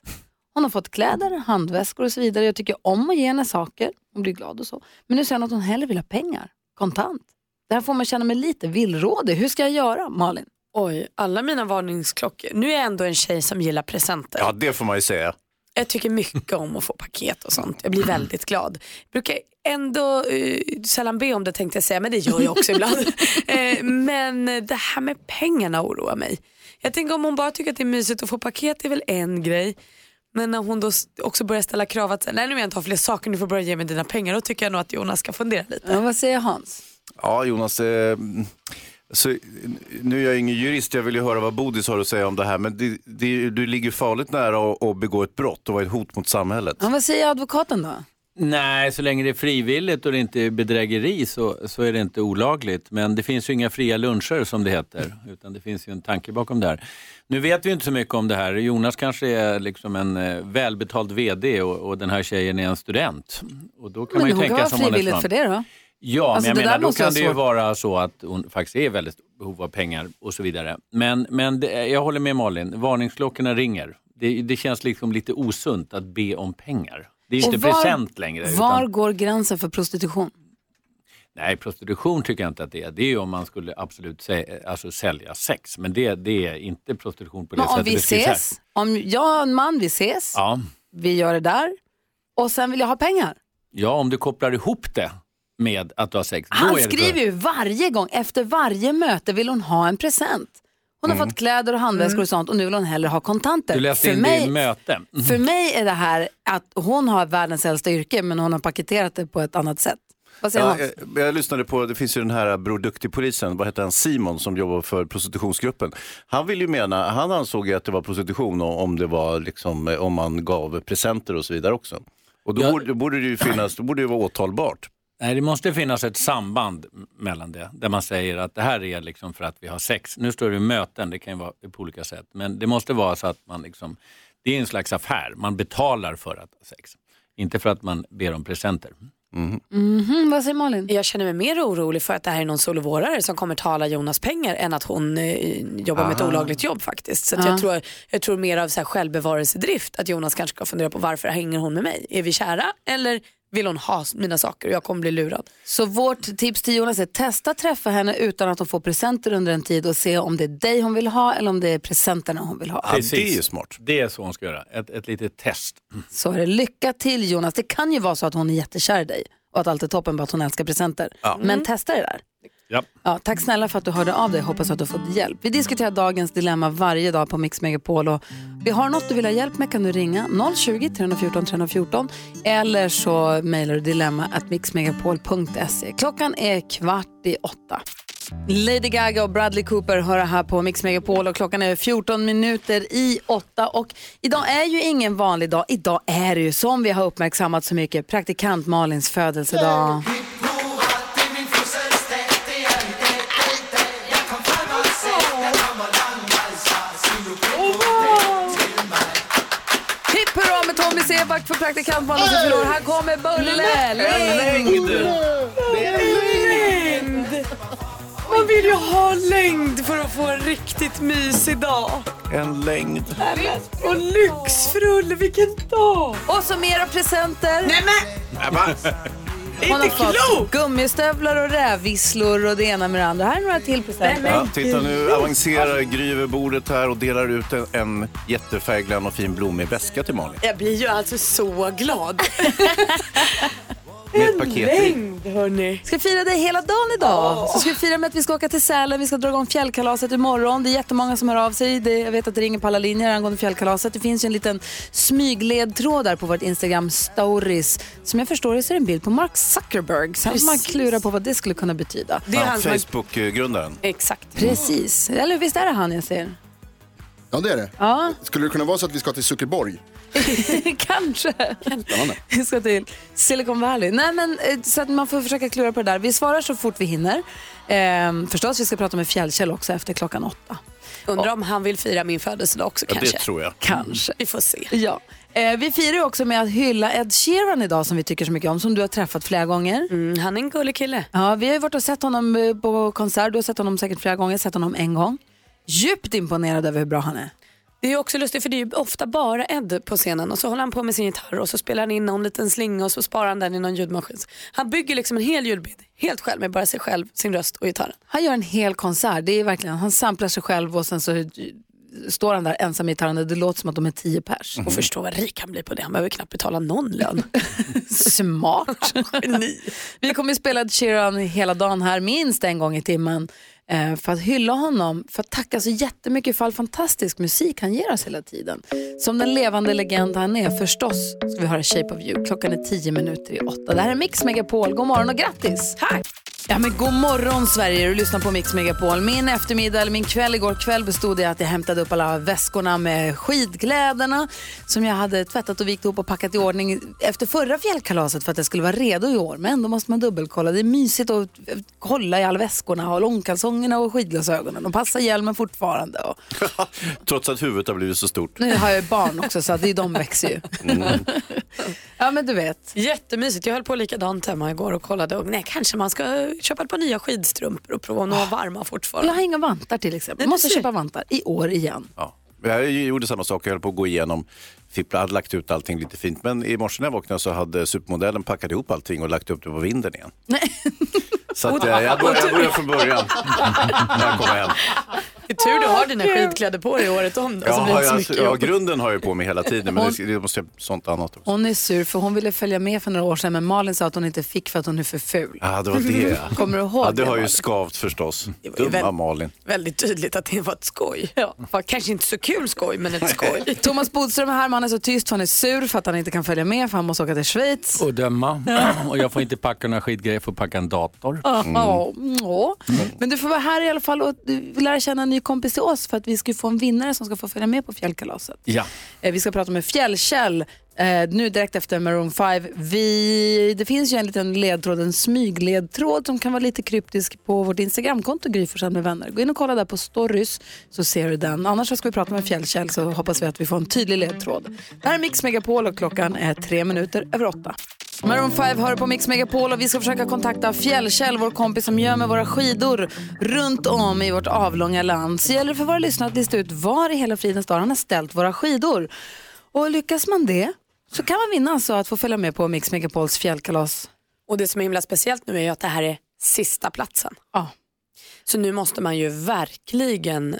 Hon har fått kläder, handväskor och så vidare. Jag tycker om att ge henne saker. Hon blir glad och så. Men nu säger hon att hon hellre vill ha pengar. Kontant. Det här får man känna mig lite villrådig. Hur ska jag göra, Malin?
Oj, alla mina varningsklockor. Nu är jag ändå en tjej som gillar presenter.
Ja, det får man ju säga.
Jag tycker mycket om att få paket och sånt. Jag blir väldigt glad. Brukar ändå eh, sällan be om det tänkte jag säga, men det gör jag också ibland. Eh, men det här med pengarna oroar mig. Jag tänker om hon bara tycker att det är mysigt att få paket, det är väl en grej. Men när hon då s- också börjar ställa krav att nej nu vill jag inte ha fler saker, du får börja ge mig dina pengar. Då tycker jag nog att Jonas ska fundera lite.
vad säger Hans?
Ja, Jonas. Eh, så, nu är jag ingen jurist, jag vill ju höra vad Bodis har att säga om det här. Men det, det, du ligger farligt nära att- att begå ett brott och vara ett hot mot samhället.
Ja, vad säger advokaten då?
Nej, så länge det är frivilligt och det inte är bedrägeri så, så är det inte olagligt. Men det finns ju inga fria luncher som det heter, utan det finns ju en tanke bakom det här. Nu vet vi inte så mycket om det här. Jonas kanske är liksom en eh, välbetald VD och, och den här tjejen är en student. Och då kan man
Men
ju
hon
tänka
kan vara
som Anders
frivilligt
Svahn.
för det då?
Ja,
Alltså,
men
det
jag
där
menar, då
måste jag
kan det ju
svårt.
vara så att hon faktiskt är väldigt behov av pengar och så vidare. Men, men det, jag håller med Malin, varningsklockorna ringer. Det, det känns liksom lite osunt att be om pengar. Det är ju
Och
inte
var-
present längre.
Var
Utan,
går gränsen för prostitution?
nej, prostitution tycker jag inte att det är. Det är ju om man skulle absolut sä, alltså sälja sex, men det, det är inte prostitution på det
Men om
sättet.
vi
det beskrivs här.
ses, om jag och en man, vi ses,
Ja,
vi gör det där och sen vill jag ha pengar.
ja, om du kopplar ihop det med att du har sex.
Han
då är det-
skriver ju varje gång, efter varje möte vill hon ha en present. Hon har
Mm.
fått kläder och handväskor och sånt och nu vill hon hellre ha kontanter.
Du läste
för,
in det i Mm.
mig,
möte. Mhm.
för mig är det här att hon har världens äldsta yrke men hon har paketerat det på ett annat sätt. Vad säger
Ja,
eh,
Hans?
jag, jag lyssnade på, det finns ju den här eh, Bror Duktig-polisen, vad heter han, Simon som jobbar för prostitutionsgruppen. Han vill ju mena, han ansåg ju att det var prostitution och- om det var liksom, eh, om man gav presenter och så vidare också. Och då, borde, då borde det ju finnas, då borde det vara åtalbart.
Nej, det måste finnas ett samband m- mellan det, där man säger att det här är liksom för att vi har sex. Nu står det i möten, det kan ju vara på olika sätt, men det måste vara så att man liksom, det är en slags affär, man betalar för att ha sex. Inte för att man ber om presenter.
Mm-hmm.
Mhm, vad säger Malin?
Jag känner mig mer orolig för att det här är någon solovårare som kommer tala Jonas pengar än att hon eh, jobbar med ett
Ah.
Aha.
olagligt jobb faktiskt. Så att
Ja.
jag, tror, jag tror mer av så här självbevarelsedrift att Jonas kanske ska fundera på varför hänger hon med mig? Är vi kära eller vill hon ha mina saker och jag kommer bli lurad?
Så vårt tips till Jonas är testa träffa henne utan att hon får presenter under en tid och se om det är dig hon vill ha eller om det är presenterna hon vill ha.
smart.
Det är så hon ska göra, ett, ett litet test.
Så är det. Lycka till Jonas. Det kan ju vara så att hon är jättekär i dig och att allt är toppen bara att hon älskar presenter.
Ja. Mm.
Men testa det där.
Ja.
Ja, tack snälla för att du hörde av dig. Hoppas att du har fått hjälp. Vi diskuterar dagens dilemma varje dag på Mix Megapol. Och vi har något du vill ha hjälp med kan du ringa 020 314 314 eller så mejlar du dilemma at mixmegapol.se. Klockan är kvart i åtta. Lady Gaga och Bradley Cooper hör här på Mix Megapol och klockan är 14 minuter i åtta och idag är ju ingen vanlig dag. Idag är det ju som vi har uppmärksammat så mycket praktikant Malins födelsedag. Hipp hurra med Tommy Seback för praktikant Malin som fyller år. Här kommer Bulle Längd!
Längd! Man vill ju ha längd för att få en riktigt mysig dag.
En längd.
Och lyxfrulle, vilken dag!
Och så mera presenter.
Nej
Hon har fått gummistövlar och rävvisslor och det ena med det andra. Här är några till presenter.
Ja, titta nu avancerar Gry över bordet här och delar ut en, en jättefärgglann och fin blommig väska till Malin.
Jag blir ju alltså så glad.
Med ett paket i.
hörni.
Ska fira dig hela dagen idag. Så ska vi fira med att vi ska åka till Sälen. Vi ska dra igång fjällkalaset imorgon. Det är jättemånga som hör av sig. Det, jag vet att det ringer på alla linjer angående fjällkalaset. Det finns ju en liten smygledtråd där på vårt Instagram stories. Som jag förstår det så är det en bild på Mark Zuckerberg. Så här får man
Precis.
klura på vad det skulle kunna betyda.
Ja, Facebook-grundaren.
Exakt.
Precis. Eller visst är det han jag ser?
Ja, det är det.
Ja,
Skulle det kunna vara så att vi ska till Zuckerborg?
kanske.
Spännande.
Vi ska till Silicon Valley. Nej, men, eh, så att man får försöka klura på det där. Vi svarar så fort vi hinner. Ehm, förstås, vi ska prata med Fjällkäll också efter klockan åtta.
Undrar om han vill fira min födelsedag också
Ja, det
kanske.
tror jag.
Kanske.
Vi får se.
Ja. Eh, vi firar ju också med att hylla Ed Sheeran idag som vi tycker så mycket om, som du har träffat flera gånger.
Mm, han är en gullig kille.
Ja, vi har ju varit och sett honom eh, på konsert, du har sett honom säkert flera gånger, jag har sett honom en gång. Djupt imponerad över hur bra han är.
Det är också lustigt för det är ju ofta bara Ed på scenen och så håller han på med sin gitarr och så spelar han in någon liten slinga och så sparar han den i någon ljudmaskin. Han bygger liksom en hel ljudbild helt själv med bara sig själv, sin röst och gitarren.
Han gör en hel konsert, det är verkligen, han samplar sig själv och sen så eh, står han där ensam med gitarren och det låter som att de är tio pers.
Och förstå vad rik han blir på det, han behöver knappt betala någon lön.
Smart. Vi kommer ju spela Ed Sheeran hela dagen här, minst en gång i timmen. eh, För att hylla honom, för att tacka så jättemycket för all fantastisk musik han ger oss hela tiden. Som den levande legend han är förstås ska vi höra Shape of You. Klockan är tio minuter i åtta. Det här är Mix Megapol. God morgon och grattis! Tack! Ja men god morgon Sverige, du lyssnar på Mix Megapol. Min eftermiddag, eller min kväll igår kväll bestod i att jag hämtade upp alla väskorna med skidkläderna som jag hade tvättat och vikt ihop och packat i ordning efter förra fjällkalaset för att jag skulle vara redo i år. Men ändå måste man dubbelkolla. Det är mysigt att eh, kolla i alla väskorna och långkalsongerna och skidglasögonen. De passar hjälmen fortfarande. Och
Trots att huvudet har blivit så stort. Mm.
nu har jag ju barn också så att det är de växer ju. Ja men du vet.
Jättemysigt, jag höll på likadant hemma igår och kollade och nej kanske man ska köpa ett par nya skidstrumpor och prova om
Ah.
de var varma fortfarande.
Jag har inga vantar till exempel. Jag måste köpa vantar i år igen.
Ja. Jag gjorde samma sak, jag höll på att gå igenom, fippla, hade lagt ut allting lite fint. Men i morse när jag vaknade så hade supermodellen packat ihop allting och lagt upp det på vinden igen. Så att, eh, jag, började, jag började från början när jag kom hem.
Det är tur du har dina skidkläder på dig året om då.
Jag
så blir
har
det
ju
inte så
alltså,
mycket
ja,
jobb.
grunden har jag på mig hela tiden, men det, det måste jag sånt annat också.
Hon är sur för hon ville följa med för några år sedan men Malin sa att hon inte fick för att hon är för ful.
Ja, det var det.
Kommer du ihåg
ja, det?
det,
har ju
Malin?
skavt förstås. Dumma Malin.
Väldigt tydligt att det var ett skoj. Ja. Kanske inte så kul skoj, men ett skoj.
Thomas Bodström är här men han är så tyst för han är sur för att han inte kan följa med för han måste åka till Schweiz.
Och döma. och jag får inte packa några skidgrejer, jag får packa en dator.
Ja,
Mm.
ja. Men du får vara här i alla fall och du vill lära känna en ny kompis till oss för att vi ska ju få en vinnare som ska få följa med på fjällkalaset.
Ja.
Eh, Vi ska prata med Fjällkäll eh, nu direkt efter Maroon 5. Vi, det finns ju en liten ledtråd, en smygledtråd som kan vara lite kryptisk på vårt Instagramkonto Gry Forssell med vänner. Gå in och kolla där på stories så ser du den. Annars så ska vi prata med Fjällkäll så hoppas vi att vi får en tydlig ledtråd. Det här är Mix Megapol och klockan är tre minuter över åtta. Maroon 5 hör på Mix Megapol och vi ska försöka kontakta Fjällkäll, vår kompis som gömmer våra skidor runt om i vårt avlånga land. Så gäller det för våra lyssnare att lista ut var i hela fridens dag han har ställt våra skidor. Och lyckas man det så kan man vinna alltså att få följa med på Mix Megapols fjällkalas.
Och det som är himla speciellt nu är ju att det här är sista platsen. Så nu måste man ju verkligen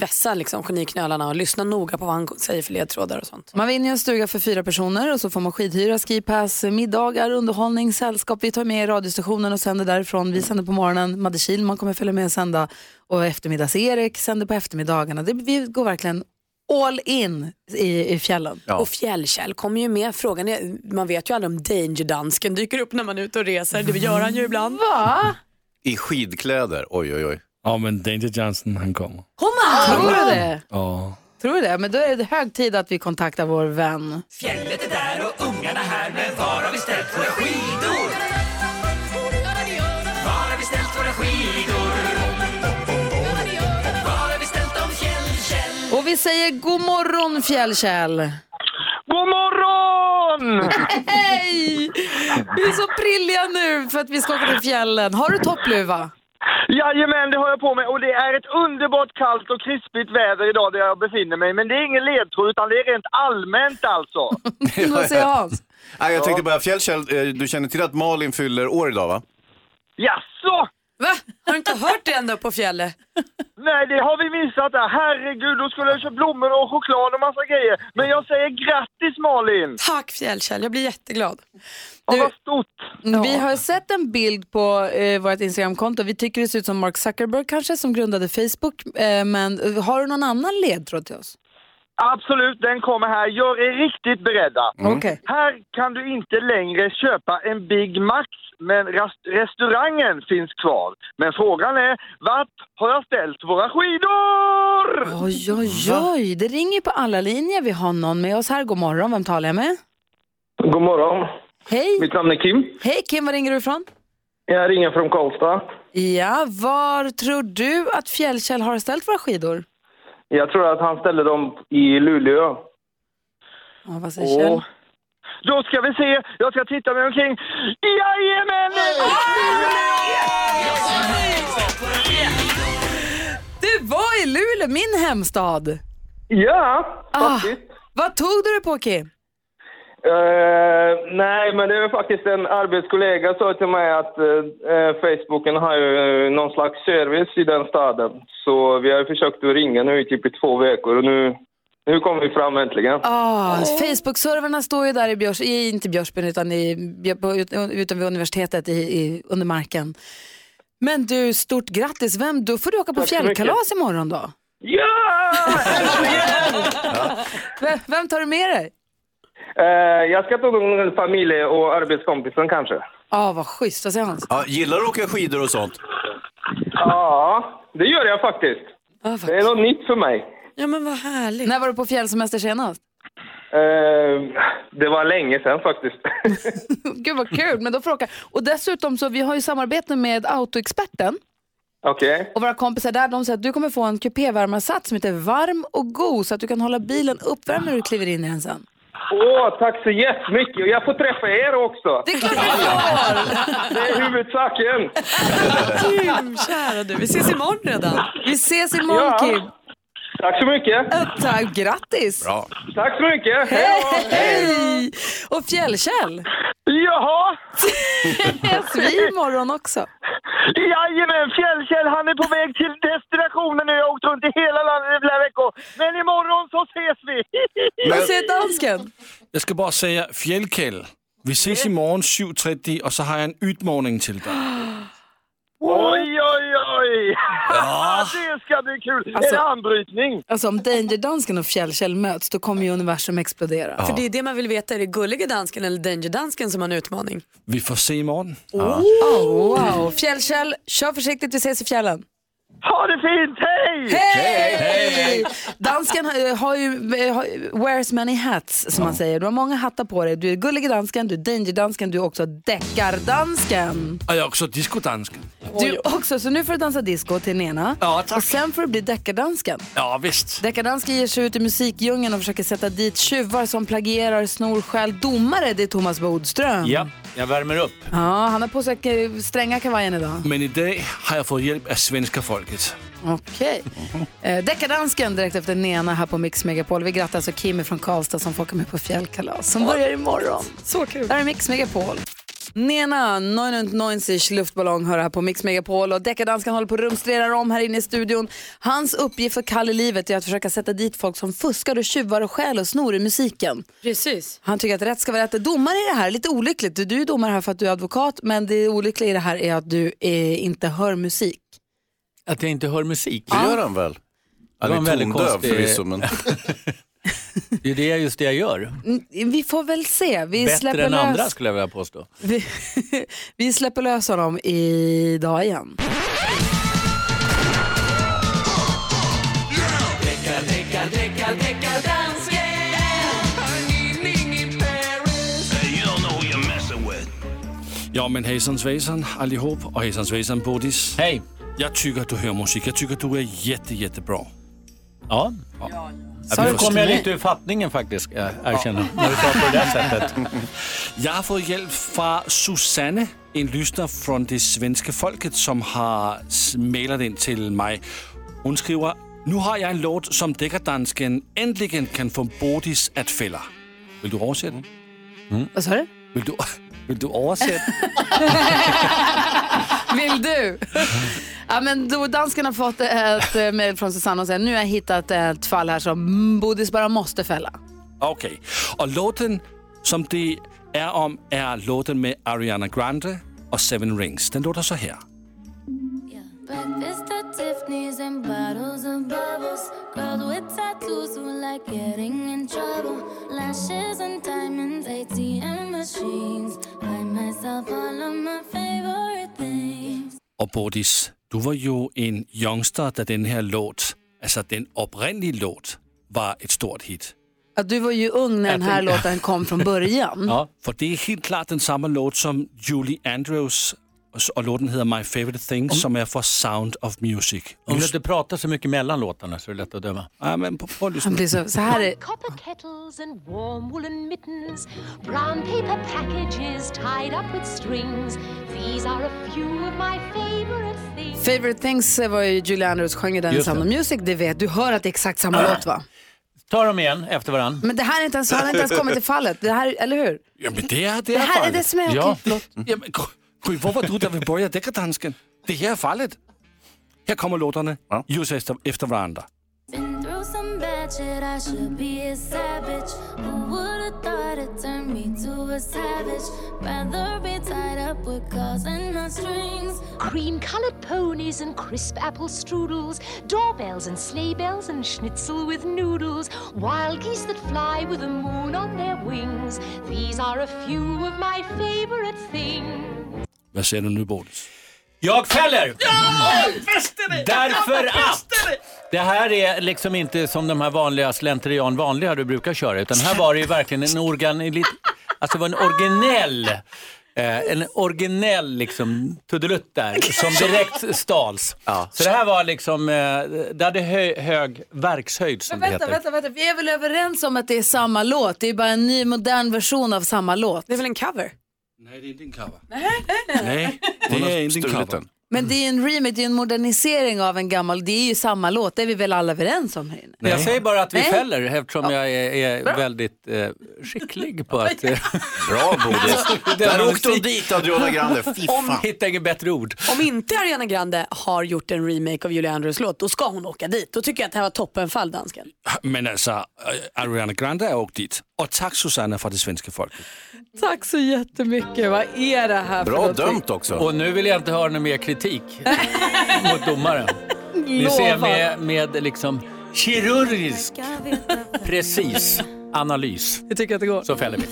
vässa liksom geniknölarna och lyssna noga på vad han säger för ledtrådar och sånt.
Man vinner ju en stuga för fyra personer och så får man skidhyra, skipass, middagar, underhållning, sällskap. Vi tar med radiostationen och sänder därifrån. Vi sänder på morgonen. Madde Kihlman kommer följa med och sända. Och eftermiddags-Erik sänder på eftermiddagarna. Det, vi går verkligen all in i, i fjällen.
Och fjällkäll kommer ju med. Frågan är, man vet ju aldrig om danger-dansken dyker upp när man är ute och reser. Det gör han ju ibland.
Va?
I skidkläder, oj oj oj.
Ja, men Danger Johnson, han kommer.
Tror du det?
Ja.
Tror du det? Men då är det hög tid att vi kontaktar vår vän.
Fjället är där och ungarna här, men var har vi ställt våra skidor? Var har vi ställt våra skidor? Var har vi ställt dem, Fjällkäll?
Och vi säger god morgon Fjällkäll!
God morgon!
Hej! Vi är så prilliga nu för att vi ska åka till fjällen. Har du toppluva?
Jajamän, det har jag på mig och det är ett underbart kallt och krispigt väder idag där jag befinner mig. Men det är ingen ledtråd utan det är rent allmänt alltså.
Vad säger Hans?
Nej, jag tänkte bara, Fjällkäll, eh, du känner till att Malin fyller år idag va?
Jaså?
Va? Har du inte hört det ända upp på fjället?
Nej, det har vi missat där. Herregud, då skulle jag köpa blommor och choklad och massa grejer. Men jag säger grattis Malin!
Tack Fjällkäll, jag blir jätteglad.
Du,
vad stort!
Vi har sett en bild på eh, vårt Instagramkonto. Vi tycker det ser ut som Mark Zuckerberg kanske som grundade Facebook. Eh, men eh, har du någon annan ledtråd till oss?
Absolut, den kommer här. Gör er riktigt beredda.
Mm. Okej.
Här kan du inte längre köpa en Big Mac, men ras- restaurangen finns kvar. Men frågan är, vart har jag ställt våra skidor?
Oj, oj, oj. Det ringer på alla linjer. Vi har någon med oss här. God morgon. Vem talar jag med?
God morgon.
Hej.
Mitt namn är Kim.
Hej Kim, var ringer du ifrån?
Jag ringer från Karlstad.
Ja, var tror du att Fjällkäll har ställt våra skidor?
Jag tror att han ställde dem i Luleå.
Ja, vad säger Kjell?
Då ska vi se, jag ska titta mig omkring. Jajamän!
Det var i Luleå, min hemstad.
Ja,
ah, Vad tog du det på, Kim?
Eh, nej, men det är faktiskt en arbetskollega sa till mig att eh, eh, Facebooken har ju eh, någon slags service i den staden. Så vi har ju försökt att ringa nu i typ i två veckor och nu, nu kommer vi fram äntligen.
Ah, Facebook-servrarna står ju där i, Björs, i inte Björksbyn utan, i, Björ- på- ut- utan vid universitetet i, i, under marken. Men du, stort grattis. Vem, då får du åka på
Tack så
fjällkalas
mycket.
imorgon då.
Ja!
Vem, vem tar du med dig?
Eh, jag ska ta någon familj och arbetskompisen kanske.
Ah, vad schysst, vad säger Hans?
Ja, gillar du att åka skidor och sånt?
Ja, det gör jag faktiskt. Det är något nytt för mig.
Ja men vad härligt. När var du på fjällsemester senast?
Eh, det var länge sedan faktiskt.
Gud vad kul, men då får du åka. Och dessutom så vi har ju samarbete med Autoexperten.
Okej.
Och våra kompisar där de säger att du kommer få en kupévärmarsats som heter varm och god så att du kan hålla bilen uppvärmd när du kliver in i den sen.
Åh, tack så jättemycket! Och jag får träffa er också!
Det är klart
du får! Det är huvudsaken!
Kim, kära du. Vi ses imorgon redan. Vi ses imorgon
Ja.
Kim.
Tack så mycket!
Tack, grattis!
Bra. Tack så mycket!
Hej!
Hej!
Och Fjällkäll.
Jaha!
Ses vi imorgon också?
Jajamän, Fjällkäll han är på väg till destinationen nu. Jag har åkt runt i hela landet i flera veckor. Men imorgon så ses vi!
Vad säger dansken?
Jeg skal bare sige, Fjellkæld, vi ses i morgen 7.30, og så har jeg en ytmorning til dig.
Oj, oj, oj!
Ja.
Det ska bli kul!
Alltså-
Är det armbrytning?
Alltså om Danger-dansken och Fjällkäll möts då kommer ju universum explodera.
För det är det man vill veta, är det gulliga dansken eller danger-dansken som har en utmaning?
Vi får se i morgen.
Oh, wow. Fjällkäll, kör försiktigt, vi ses i fjällen.
Ha det fint, hej!
Hej! Dansken har, har ju eh, har, wears many hats som man säger. Du har många hattar på dig. Du är gullig dansken, du är danger-dansken, du är också deckardansken.
Og jeg er også diskodansken.
Du också, så nu får du dansa disco till Nena.
Ja,
Och sen får du bli deckardansken.
Ja, visst.
Deckardansken ger sig ut i musikdjungeln och försöker sätta dit tjuvar som plagierar, snor, stjäl. Domare, det är Thomas Bodström.
Ja, jeg värmer upp.
Ja, han har på sig eh, stränga kavajen idag.
Men i dag har jag fått hjälp av svenska folket.
Okej. Eh, Deckardansken direkt efter Nena här på Mix Megapol. Vi grattar alltså Kimi från Karlstad som får åka med på fjällkalas som börjar imorgon.
Så kul.
Det här är Mix Megapol. Nena 990 luftballong hör här på Mix Megapol och deckardansken håller på att rumstrera om här inne i studion. Hans uppgift för Kalle i livet är att försöka sätta dit folk som fuskar och tjuvar och stjäl och snor i musiken.
Precis.
Han tycker att rätt ska vara rätt. Domare i det här, lite olyckligt. Du, du är domare här för att du är advokat men det olyckliga i det här är att du eh, inte hör musik.
Att jag inte hör musik.
Det gör
han väl?
Han är tondöv förvisso, men-
det är det jag- just det jag gör.
Mm, Vi får väl se. Vi
Bättre
släpper
än
lös.
andra skulle jag vilja påstå.
Vi, vi släpper lös honom idag igen.
Ja, men hejsan svejsan allihop och hejsan svejsan Bodis. Hej! Jag tycker att du hör musik. Jag tycker att du är jätte, jättebra.
Ja.
ja.
Ja, nu kommer jag
øh,
lite ur fattningen faktiskt, jag erkänner. När du pratar på det där sättet.
Jag har fått hjälp från Susanne, en lyssnare från det svenska folket som har s- mailat in till mig. Hon skriver, nu har jag en låt som deckardansken äntligen kan få Bodis att fälla. Vill du översätta den?
Mm.
Vad sa du?
Vill du, vill du översätta?
Vill du? ja, men då dansken har fått ett eh, mejl från Susanne och säger nu har jag hittat ett fall här som mm, Bodis bara måste fälla.
Okej. Och låten som det är om är låten med Ariana Grande och Seven Rings. Den låter så här.
Breakfast at Tiffany's and bottles of bubbles. Girls with tattoos who like getting in trouble. Lashes and diamonds, ATM machines. Buy myself all of my favorite things.
Och Bodis, du var ju en youngster där den här låt, alltså den uppriktiga låt, var ett stort hit.
Ja, du var ju ung när den här låten kom från början.
Ja. För det är helt klart den samma låt som Julie Andrews Och, s- och låten heter My Favorite Things
Mm.
som är från Sound of Music.
Om du inte pratar så mycket mellan låtarna så är det lätt att döma.
Ja, men på, på,
Han blir så, så här
er-
är...
Copper kettles and warm woolen mittens, brown paper packages tied up with strings. These are a few of my favorite things.
Favorite Things eh, var ju Julie Andrews sjöng i den i
Just
Sound of
det.
Music, det vet du. hör att det är exakt samma låt va?
Ta dem igen efter varandra.
Men det här är inte ens, han har inte ens kommit till fallet, det här, eller hur?
Ja, men det är det,
Det här är
fallet.
det som är okej, förlåt.
Ja, men, Gry, varför du där vill börja deckardansken? Det här är fallet. Här kommer låtarna just efter, efter varandra.
Been through some bad shit, I should be a savage. Who would've thought it turned me to a savage? Rather be tied up with calls and not strings.
Cream colored ponies and crisp apple strudels, doorbells and sleigh bells and schnitzel with noodles, wild geese that fly with the moon on their wings. These are a few of my favorite things.
Vad säger du nu, Bodis?
Jag fäller!
Jag
Därför att! Det här är liksom inte som de här vanliga slentrian vanliga du brukar köra utan här var det ju verkligen en organ... Alltså det var en originell... Eh, en originell liksom tuddelutt där som direkt stals. Så det här var liksom, eh, det hade hö, hög verkshöjd som det
Vänta,
heter.
vänta, vänta, vi är väl överens om att det är samma låt? Det är bara en ny modern version av samma låt. Det är väl en cover?
Nej, det är inte en cover.
Nej,
det är inte en cover.
Men det är en remake, det är en modernisering av en gammal, det är ju samma låt, det är vi väl alla överens om här inne?
Jag säger bara att vi
Nej.
fäller eftersom jag är, är väldigt eh, skicklig på att... eh, Bra
Bodil. Där åkte hon dit, Adriana Grande. Fy fan.
Om... Hitta inget bättre ord.
Om inte Ariana Grande har gjort en remake av Julie Andrews låt, då ska hon åka dit. Då tycker jag att det här var toppenfall, dansken.
Men alltså, øh, Ariana Grande har åkt dit. Och tack Susanna för det svenska folket.
Tack så jättemycket, vad är det här för någonting?
också. Och nu vill jag inte höra någon mer kritik mot domaren. Vi ser med, med liksom kirurgisk precis analys.
Jag tycker att det går.
Så fäller vi.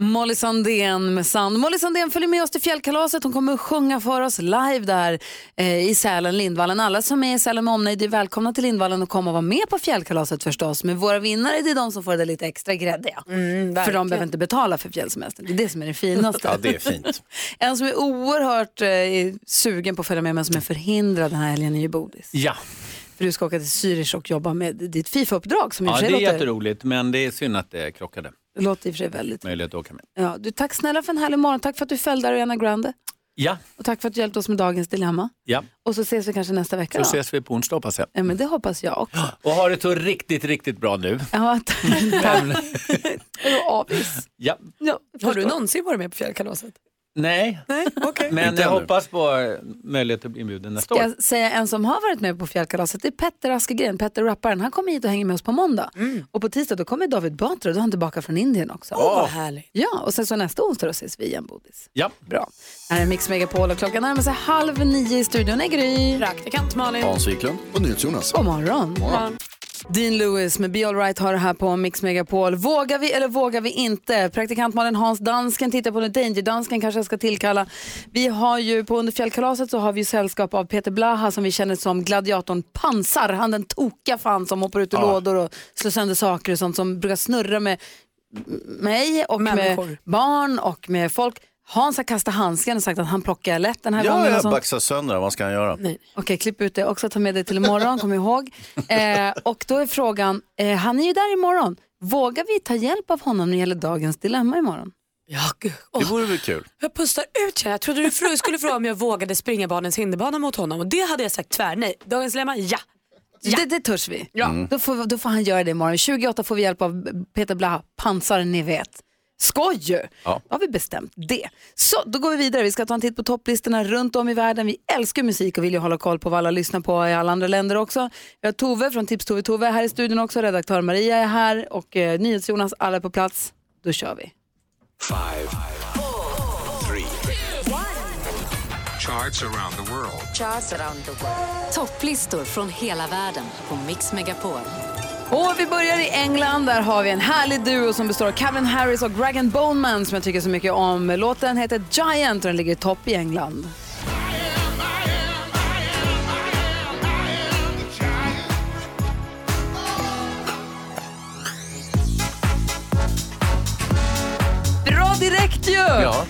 Molly Sandén med Sand. Molly Sandén följer med oss till fjällkalaset. Hon kommer att sjunga för oss live där eh, i Sälen, Lindvallen. Alla som är i Sälen med omnejd är välkomna till Lindvallen och komma och vara med på fjällkalaset förstås. Men våra vinnare det är de som får det lite extra grädde. ja.
Mm,
för de behöver inte betala för fjällsemestern. Det är det som är det finaste.
Ja, det är fint.
en som är oerhört eh, sugen på att följa med men som är förhindrad den här helgen är ju Bodis.
Ja,
För du ska åka till Zürich och jobba med ditt Fifa-uppdrag som i och
ja
för
det
sig
är
låter,
jätteroligt men det är synd att det krockade.
låter i och för sig väldigt...
Möjlighet att åka med.
Ja, du, tack snälla för en härlig morgon. Tack för att du följde Ariana Grande.
Ja,
Och tack för att du hjälpte oss med dagens dilemma.
ja.
Och så ses vi kanske nästa vecka
Så
då.
ses vi på onsdag hoppas jag.
Ja, men det hoppas jag också.
Och ha det så riktigt, riktigt bra nu.
Ja,
Men,
avis.
ja.
Har du någonsin varit med på fjällkalaset?
Nej,
Nej, okej.
men
Inte
jag
ännu.
hoppas på eh, möjlighet att bli inbjuden nästa
Ska
år.
jag säga en som har varit med på fjällkalaset? Det är Petter Askegren, Petter rapparen. Han kommer hit och hänger med oss på måndag. Och på tisdag då kommer David Batra, då är han tillbaka från Indien också.
Åh, vad härligt.
Ja, och sen så nästa onsdag då ses vi igen, Bodis.
Ja.
Bra. Här är Mix Megapol och klockan närmar sig halv nio i studion. är Gry.
Praktikant Malin.
Wiklund och NyhetsJonas.
God morgon. Dean Lewis med Be All Right har det här på Mix Megapol. Vågar vi eller vågar vi inte? Praktikant Malin Hans Dansken tittar på Danger Dansken kanske jag ska tillkalla. Vi har ju på Under fjällkalaset så har vi ju sällskap av Peter Blaha som vi känner som gladiatorn Pansar. Han den tokiga fan som hoppar ut ur lådor och slår sönder saker och sånt som brukar snurra med mig och
Människor.
med barn och med folk. Hans har kastat handsken och sagt att han plockar lätt den här gången.
Ja,
och
jag
sånt.
baxar sönder den. Vad ska han göra?
Nej. Okej, klipp ut det också. Ta med det till imorgon, kom ihåg. Eh, och då är frågan, eh, han är ju där imorgon. Vågar vi ta hjälp av honom när det gäller dagens dilemma imorgon?
Det vore väl kul.
Jag pustar ut här. Jag trodde du frå- skulle fråga om jag vågade springa barnens hinderbana mot honom och det hade jag sagt tvär nej. Dagens dilemma, ja.
Det, det törs vi.
Ja.
Då, får, då får han göra det imorgon. 28 får vi hjälp av Peter Blaha, pansar ni vet. Skoj ju!
Ja.
Då har vi bestämt det. Så, då går vi vidare. Vi ska ta en titt på topplistorna runt om i världen. Vi älskar musik och vill ju hålla koll på vad alla lyssnar på i alla andra länder också. Vi har Tove från Tips-Tove. Tove är här i studion också. Redaktör Maria är här och eh, NyhetsJonas. Alla är på plats. Då kör vi.
Five, three, charts around the world.
Charts around the world. Topplistor från hela världen på Mix Megapol.
Och vi börjar i England. Där har vi en härlig duo som består av Calvin Harris och Rag Bone Man som jag tycker så mycket om. Låten heter Giant och den ligger i topp i England. Bra direkt ju!
Ja.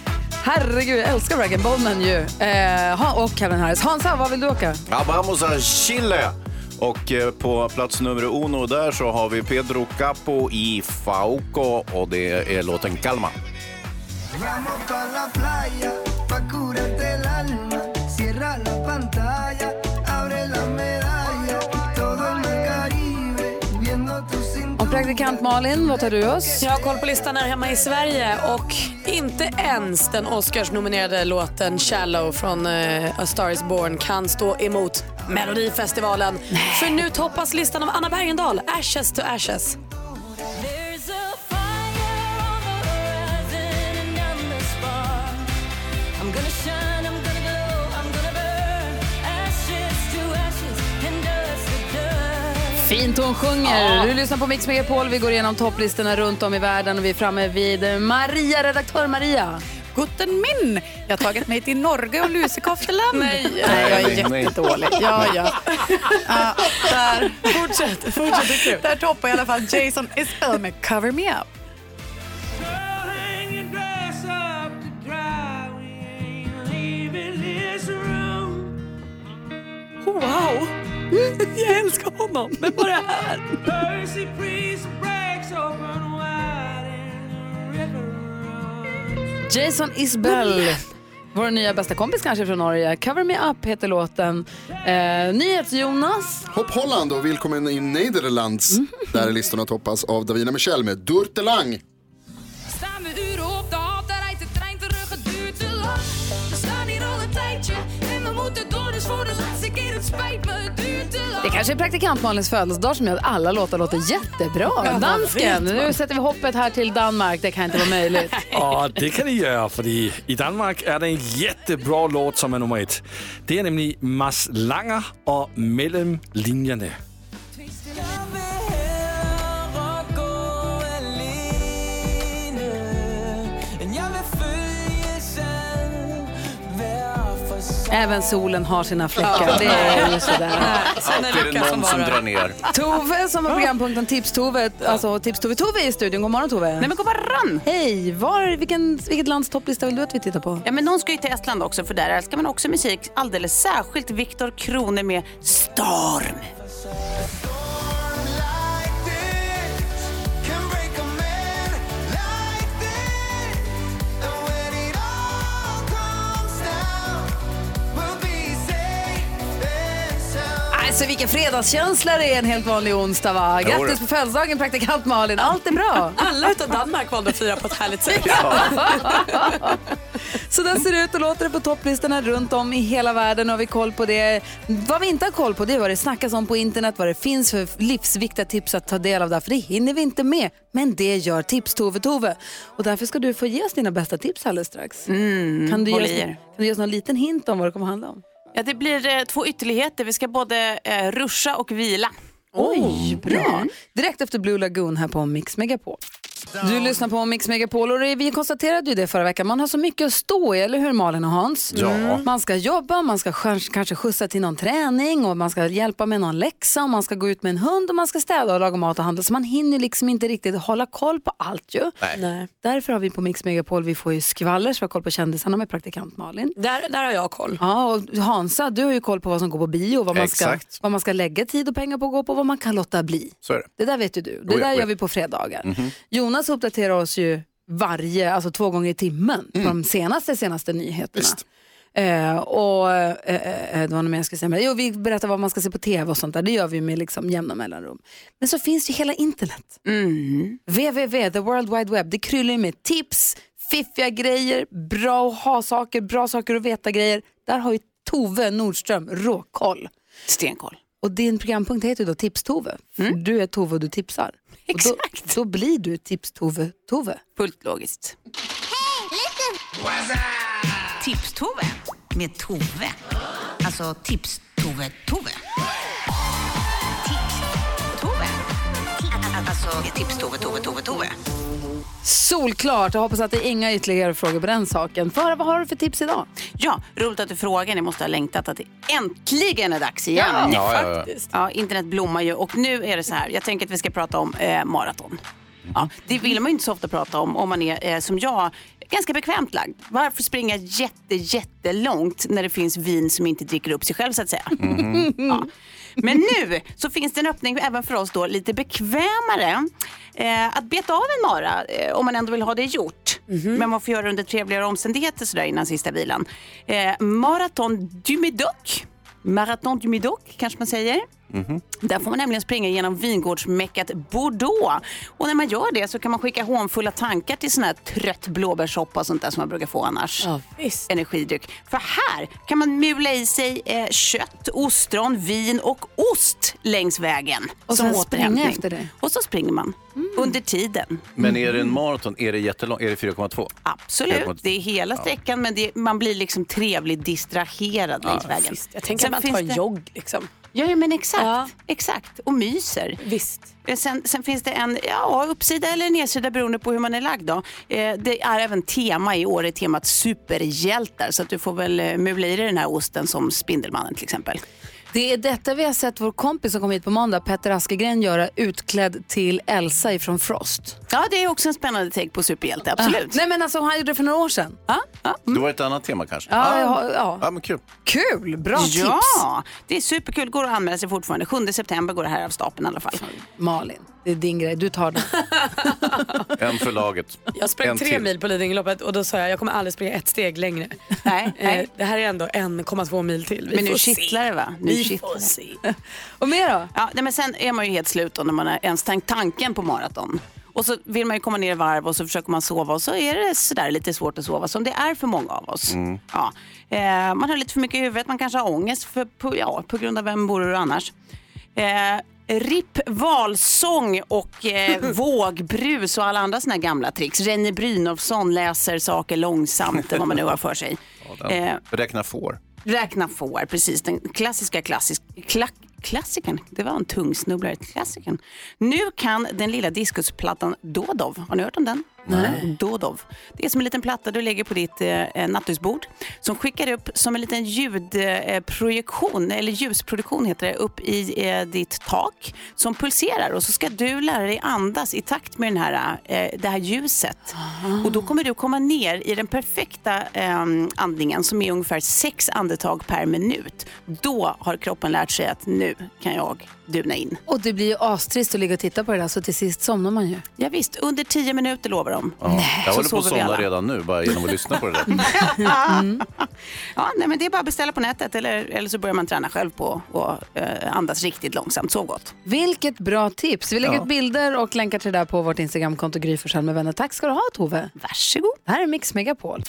Herregud, jag älskar Raggan Bowman ju. Eh, ha- och Calvin Harris. Hansa, vad vill du åka?
Ja, vamos a Chile! Och eh, på plats nummer uno där så har vi Pedro Capo i Fauco och det är låten Calma.
Vamos pa' la playa, pa' curarte el alma. Cierra la pantalla, abre la medalla. Todo en el Caribe, viendo tu cintura.
Och praktikant Malin, vad tar du oss?
Jag har koll på listan här hemma i Sverige och inte ens den Oscars-nominerade låten Shallow från eh, A Star Is Born kan stå emot Melodifestivalen. För nu toppas listan av Anna Bergendahl, Ashes to Ashes.
I'm gonna shine, I'm gonna glow, I'm gonna burn. Ashes to ashes and dust to dust.
Fint hon sjunger. Du lyssnar på Mix Megapol. Vi går igenom topplistorna runt om i världen och vi är framme vid eh, Maria, redaktör Maria.
Gutten min! Jag har tagit mig till Norge och lusekofteland. Nej,
Nej,
jag är
nej, nej.
jättedålig. Ja, ja. Ja, där. Fortsätt, fortsätt. Det är kul. Där toppar i alla fall Jason Isbell med Cover Me Up.
Hang your dress up to dry, we ain't leaving this room.
Wow! Jag älskar honom, men vad är det här?
Mercy, please, breaks open wide and the river
Jason Isbell. Vår nya bästa kompis kanske från Norge. Cover Me Up heter låten. Eh, NyhetsJonas.
Hopp Holland och välkommen in Nederlands.
Mm.
Där listorna toppas av Davina Michel med Durtelang.
Staan we uren op de hal, daar rijdt de trein terug, het duurt te lang. We staan hier al een tijdje en we moeten door, dus voor de laatste keer, het spijt me, het duurt te lang.
Det kanske är praktikant Malins födelsedag som gör att alla låtar låter jättebra.
vad
Dansken,
vet man?
nu sätter vi hoppet här till Danmark. Det kan inte vara möjligt.
Og det kan de gøre, fordi i Danmark er der en jättebra låt, som er nummer et. Det er nemlig Mads Langer og Mellem Linjerne.
Även solen har sina fläckar. Det är ju sådär.
Alltid är det någon som drar ner.
Tove som har programpunkten Tips-Tove. Alltså Tips-Tove. Tove är i studion. God morgon Tove. Nej
men god morgon.
Hej. Var, vilken, vilket lands topplista vill du att vi tittar på?
Ja, men någon ska ju till Estland också för där älskar man också musik. Alldeles särskilt Viktor Krone med Storm.
Alltså vilken fredagskänsla det är en helt vanlig onsdag va?
Jo,
Grattis
det.
på födelsedagen praktikant Malin. Allt är bra.
Alla utan Danmark valde att fira på ett härligt sätt.
Så där ser det ut och låter det på topplistorna runt om i hela världen. Har vi koll på det? Vad vi inte har koll på det är vad det snackas om på internet, vad det finns för livsviktiga tips att ta del av där, för det hinner vi inte med. Men det gör Tips-Tove-Tove. Och därför ska du få ge oss dina bästa tips alldeles strax. kan, du ge
Mm, håll
oss,
i
kan
er.
du ge oss någon liten hint om vad det kommer handla om?
Ja, det blir eh, två ytterligheter. Vi ska både eh, ruscha och vila.
Oj, bra! Direkt efter Blue Lagoon här på Mix Megapol. Du lyssnar på Mix Megapol och det- vi konstaterade ju det förra veckan. Man har så mycket att stå i, eller hur Malin och Hans?
Ja. Mm.
Man ska jobba, man ska skans- kanske skjutsa till någon träning och man ska hjälpa med någon läxa och man ska gå ut med en hund och man ska städa och laga mat och handla. Så man hinner liksom inte riktigt hålla koll på allt ju. Därför har vi på Mix Megapol, vi får ju skvaller så vi har koll på kändisarna med praktikant Malin.
Där, där har jag koll.
Ja, och Hansa, du har ju koll på vad som går på bio, vad man, ska,
Exakt.
vad man ska lägga tid och pengar på att gå på, vad man kan låta bli.
Så är det.
Det där vet ju du. Det
Oh ja,
där
oh ja.
gör vi på
Mm.
fredagar.
Mhm.
Jonas uppdaterar oss ju varje, alltså två gånger i timmen på de senaste, senaste nyheterna. Eh, och eh, eh, eh, det var något mer jag skulle säga. Men, jo, vi berättar vad man ska se på tv och sånt där. Det gör vi ju med liksom jämna mellanrum. Men så finns ju hela internet. www, the world wide web. Det kryllar ju med tips, fiffiga grejer, bra att ha-saker, bra saker att veta-grejer. Där har ju Tove Nordström råkoll.
Stenkoll. Mm.
Och din programpunkt heter ju då Tips-Tove. För Du är Tove och du tipsar. Exakt. Då, då blir du Tips-Tove-Tove.
Fullt logiskt. Tips-Tove med Tove. Alltså Tips-Tove-Tove. Tips-Tove. Alltså Tips-Tove-Tove-Tove-Tove.
Solklart. Jag hoppas att det är inga ytterligare frågor på den saken. För vad har du för tips idag?
Ja, roligt att du frågar. Ni måste ha längtat att det äntligen är dags igen.
Ja, Ja, ja, ja. faktiskt.
Ja, internet blommar ju och nu är det så här. Jag tänker att vi ska prata om eh, maraton. Ja, det vill man ju inte så ofta prata om om man är eh, som jag ganska bekvämt lagd. Varför springa jätte, jättelångt när det finns vin som inte dricker upp sig själv så att säga.
Mhm.
ja. Men nu så finns det en öppning även för oss då lite bekvämare eh, att beta av en mara eh, om man ändå vill ha det gjort. Men man får göra det under trevligare omständigheter sådär innan sista vilan. Eh, Maraton du Médoc. Maraton du Médoc kanske man säger.
Mm-hmm.
Där får man nämligen springa genom vingårdsmäckat Bordeaux. Och när man gör det så kan man skicka hånfulla tankar till sån här trött blåbärssoppa och sånt där som man brukar få annars. Energidryck. För här kan man mula i sig eh, kött, ostron, vin och ost längs vägen. som
Och sen springa
återhämtning.
efter det. Mm.
Och så springer man under tiden.
Men är det en maraton? Är det jättelång? Är det 4,2?
Absolut, det är hela sträckan men det, man blir liksom trevligt distraherad längs
Ja,
vägen.
visst.
Jag tänker att man tar en jogg liksom.
Ja, ja, men exakt. Exakt, och myser. Visst. Sen, sen finns det en ja, uppsida eller nedsida beroende på hur man är lagd. Då. Eh, det är även tema i år, är temat superhjältar. Så att du får väl eh, mula i dig den här osten som Spindelmannen till exempel.
Det är detta vi har sett vår kompis som kom hit på måndag, Petter Askegren, göra utklädd till Elsa ifrån Frost.
Ja, det är också en spännande take på superhjälte, absolut.
Nej men alltså han gjorde det för några år sedan.
Det var ett annat tema kanske?
Ja, ja, ja.
men kul.
Kul, bra
ja,
tips.
det är superkul. Går att anmäla sig fortfarande. 7 september går det här av stapeln i alla fall.
Malin, det är din grej, du tar den.
En för laget.
Jag sprang
en
tre
till.
mil på Lidingöloppet och då sa jag jag kommer aldrig springa ett steg längre.
Nej,
nej. Det här är ändå 1,2 mil till. Vi
Men nu
får se.
kittlar det va? Nu
Vi
kittlar
får
det.
se.
Och mer då?
Ja, nej, men sen är man ju helt slut då när man har ens tänkt tanken på maraton. Och så vill man ju komma ner i varv och så försöker man sova och så är det sådär lite svårt att sova som det är för många av oss. Mm. Ja. Eh, man har lite för mycket i huvudet, man kanske har ångest för, på, ja, på grund av vem bor du annars. Eh, RIP valsång och eh, vågbrus och alla andra såna här gamla tricks. Renny Brynolfsson läser saker långsamt, eller vad man nu har för sig. Eh,
Den. Räkna får.
Räkna får, precis. Den klassiska klassisk, klack, klassikern. Det var en tungsnubblare. Klassikern. Nu kan den lilla diskusplattan Dodov, har ni hört om den?
Nej.
Dodov. Det är som en liten platta du lägger på ditt eh, nattduksbord som skickar upp som en liten ljudprojektion, eh, projektion, eller ljusproduktion heter det, upp i eh, ditt tak som pulserar och så ska du lära dig andas i takt med den här, eh, det här ljuset. Och då kommer du komma ner i den perfekta eh, andningen som är ungefär sex andetag per minut. Då har kroppen lärt sig att nu kan jag duna in.
Och det blir ju astrist att ligga och titta på det där så till sist somnar man ju.
Ja, visst, under tio minuter lovar de.
Ja. Jag håller
Så
på att
sover vi
somna
alla. Mm.
redan nu bara genom att lyssna på det där.
Ja, nej, men det är bara att beställa på nätet eller, eller så börjar man träna själv på att eh, andas riktigt långsamt. Sov gott.
Vilket bra tips. Vi lägger
Ja.
ut bilder och länkar till det där på vårt Instagramkonto Gry Forssell med vänner. Tack ska du ha Tove.
Varsågod.
Det här är Mix Megapol.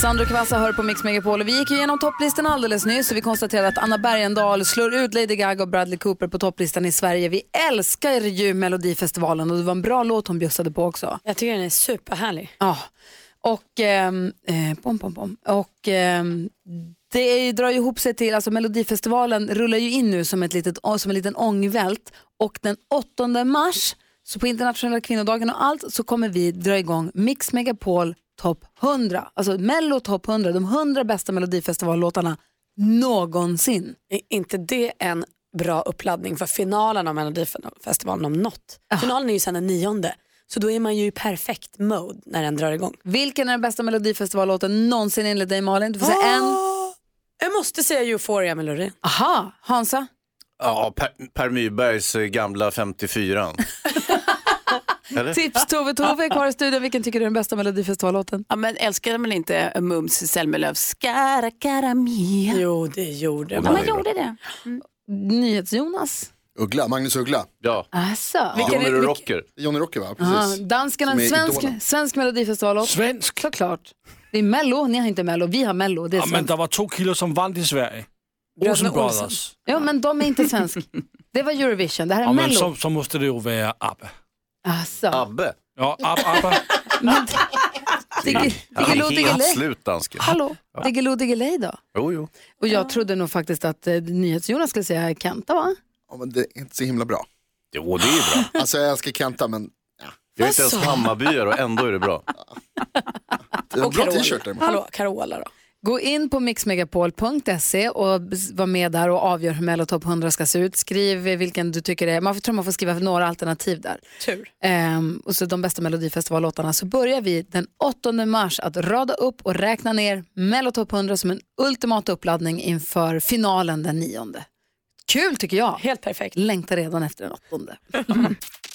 Sandro Kvassa hör på Mix Megapol och vi gick ju igenom topplistan alldeles nyss och vi konstaterade att Anna Bergendahl slår ut Lady Gaga och Bradley Cooper på topplistan i Sverige. Vi älskar ju Melodifestivalen och det var en bra låt hon bjussade på också.
Jag tycker den är superhärlig.
Ja, och, ehm, eh, bom, bom, bom. och ehm, det drar ju ihop sig till, alltså Melodifestivalen rullar ju in nu som, ett litet, som en liten ångvält och den 8 mars, så på internationella kvinnodagen och allt, så kommer vi dra igång Mix Megapol topp 100, alltså Mello topp 100, de 100 bästa Melodifestivallåtarna någonsin.
Är inte det en bra uppladdning för finalen av Melodifestivalen om något? Finalen är ju sen den nionde, så då är man ju i perfekt mode när den drar igång.
Vilken är den bästa Melodifestivallåten någonsin enligt dig Malin? Du får säga en.
Jag måste säga Euphoria-melodin.
Aha, Hansa?
Ja, per, per Mybergs eh, gamla 54. Eller?
Tips Tove, Tove är kvar i studion. Vilken tycker du är den bästa Melodifestivallåten?
Ja, men älskade man inte eh, Mums Zelmerlöws Cara Cara Mia?
Jo, det gjorde
ja,
man.
man. gjorde det.
Mm. NyhetsJonas.
Uggla, Magnus Uggla.
Ja.
Alltså.
Johnny
vilken-
Rocker. Johnny Rocker va?
Ja,
Precis.
dansken har
Som
en
är
svensk,
idolen.
svensk melodifestivallåt. Svensk? Såklart. Det är Mello, ni har inte Mello, vi har Mello. Det är
Ja, men
svenskt.
der var to kilo, som vandt i Sverige. Olsen Brothers.
Ja, men de är inte svensk. Det var Eurovision, det här är
Ja, men
Mello.
så, så måste det jo være ABBA.
Alltså.
ABBA?
Ja, Ab- ABBA.
Men, Digge- Diggiloo
helt
Diggiley.
slut dansken.
Hallå,
Ja.
Diggiloo Diggiley då?
Jo, jo.
Och jag trodde nog faktiskt att eh, NyhetsJonas skulle säga Kenta va?
Ja, men det är inte så himla bra.
Jo, det är ju bra.
Alltså jag älskar Kenta men
Jag är inte ens
Alltså.
Hammarbyare och ändå är det bra.
det är en bra t-shirt däremot.
Carola då?
Gå in på mixmegapol.se och bes- var med där och avgör hur Mellotopp 100 ska se ut. Skriv eh, vilken du tycker är, man får, tror man får skriva några alternativ där.
Tur.
Ehm, och så de bästa Melodifestivallåtarna. Så börjar vi den 8 mars att rada upp och räkna ner Mellotopp 100 som en ultimat uppladdning inför finalen den 9. Kul tycker jag.
Helt perfekt.
Längtar redan efter den 8.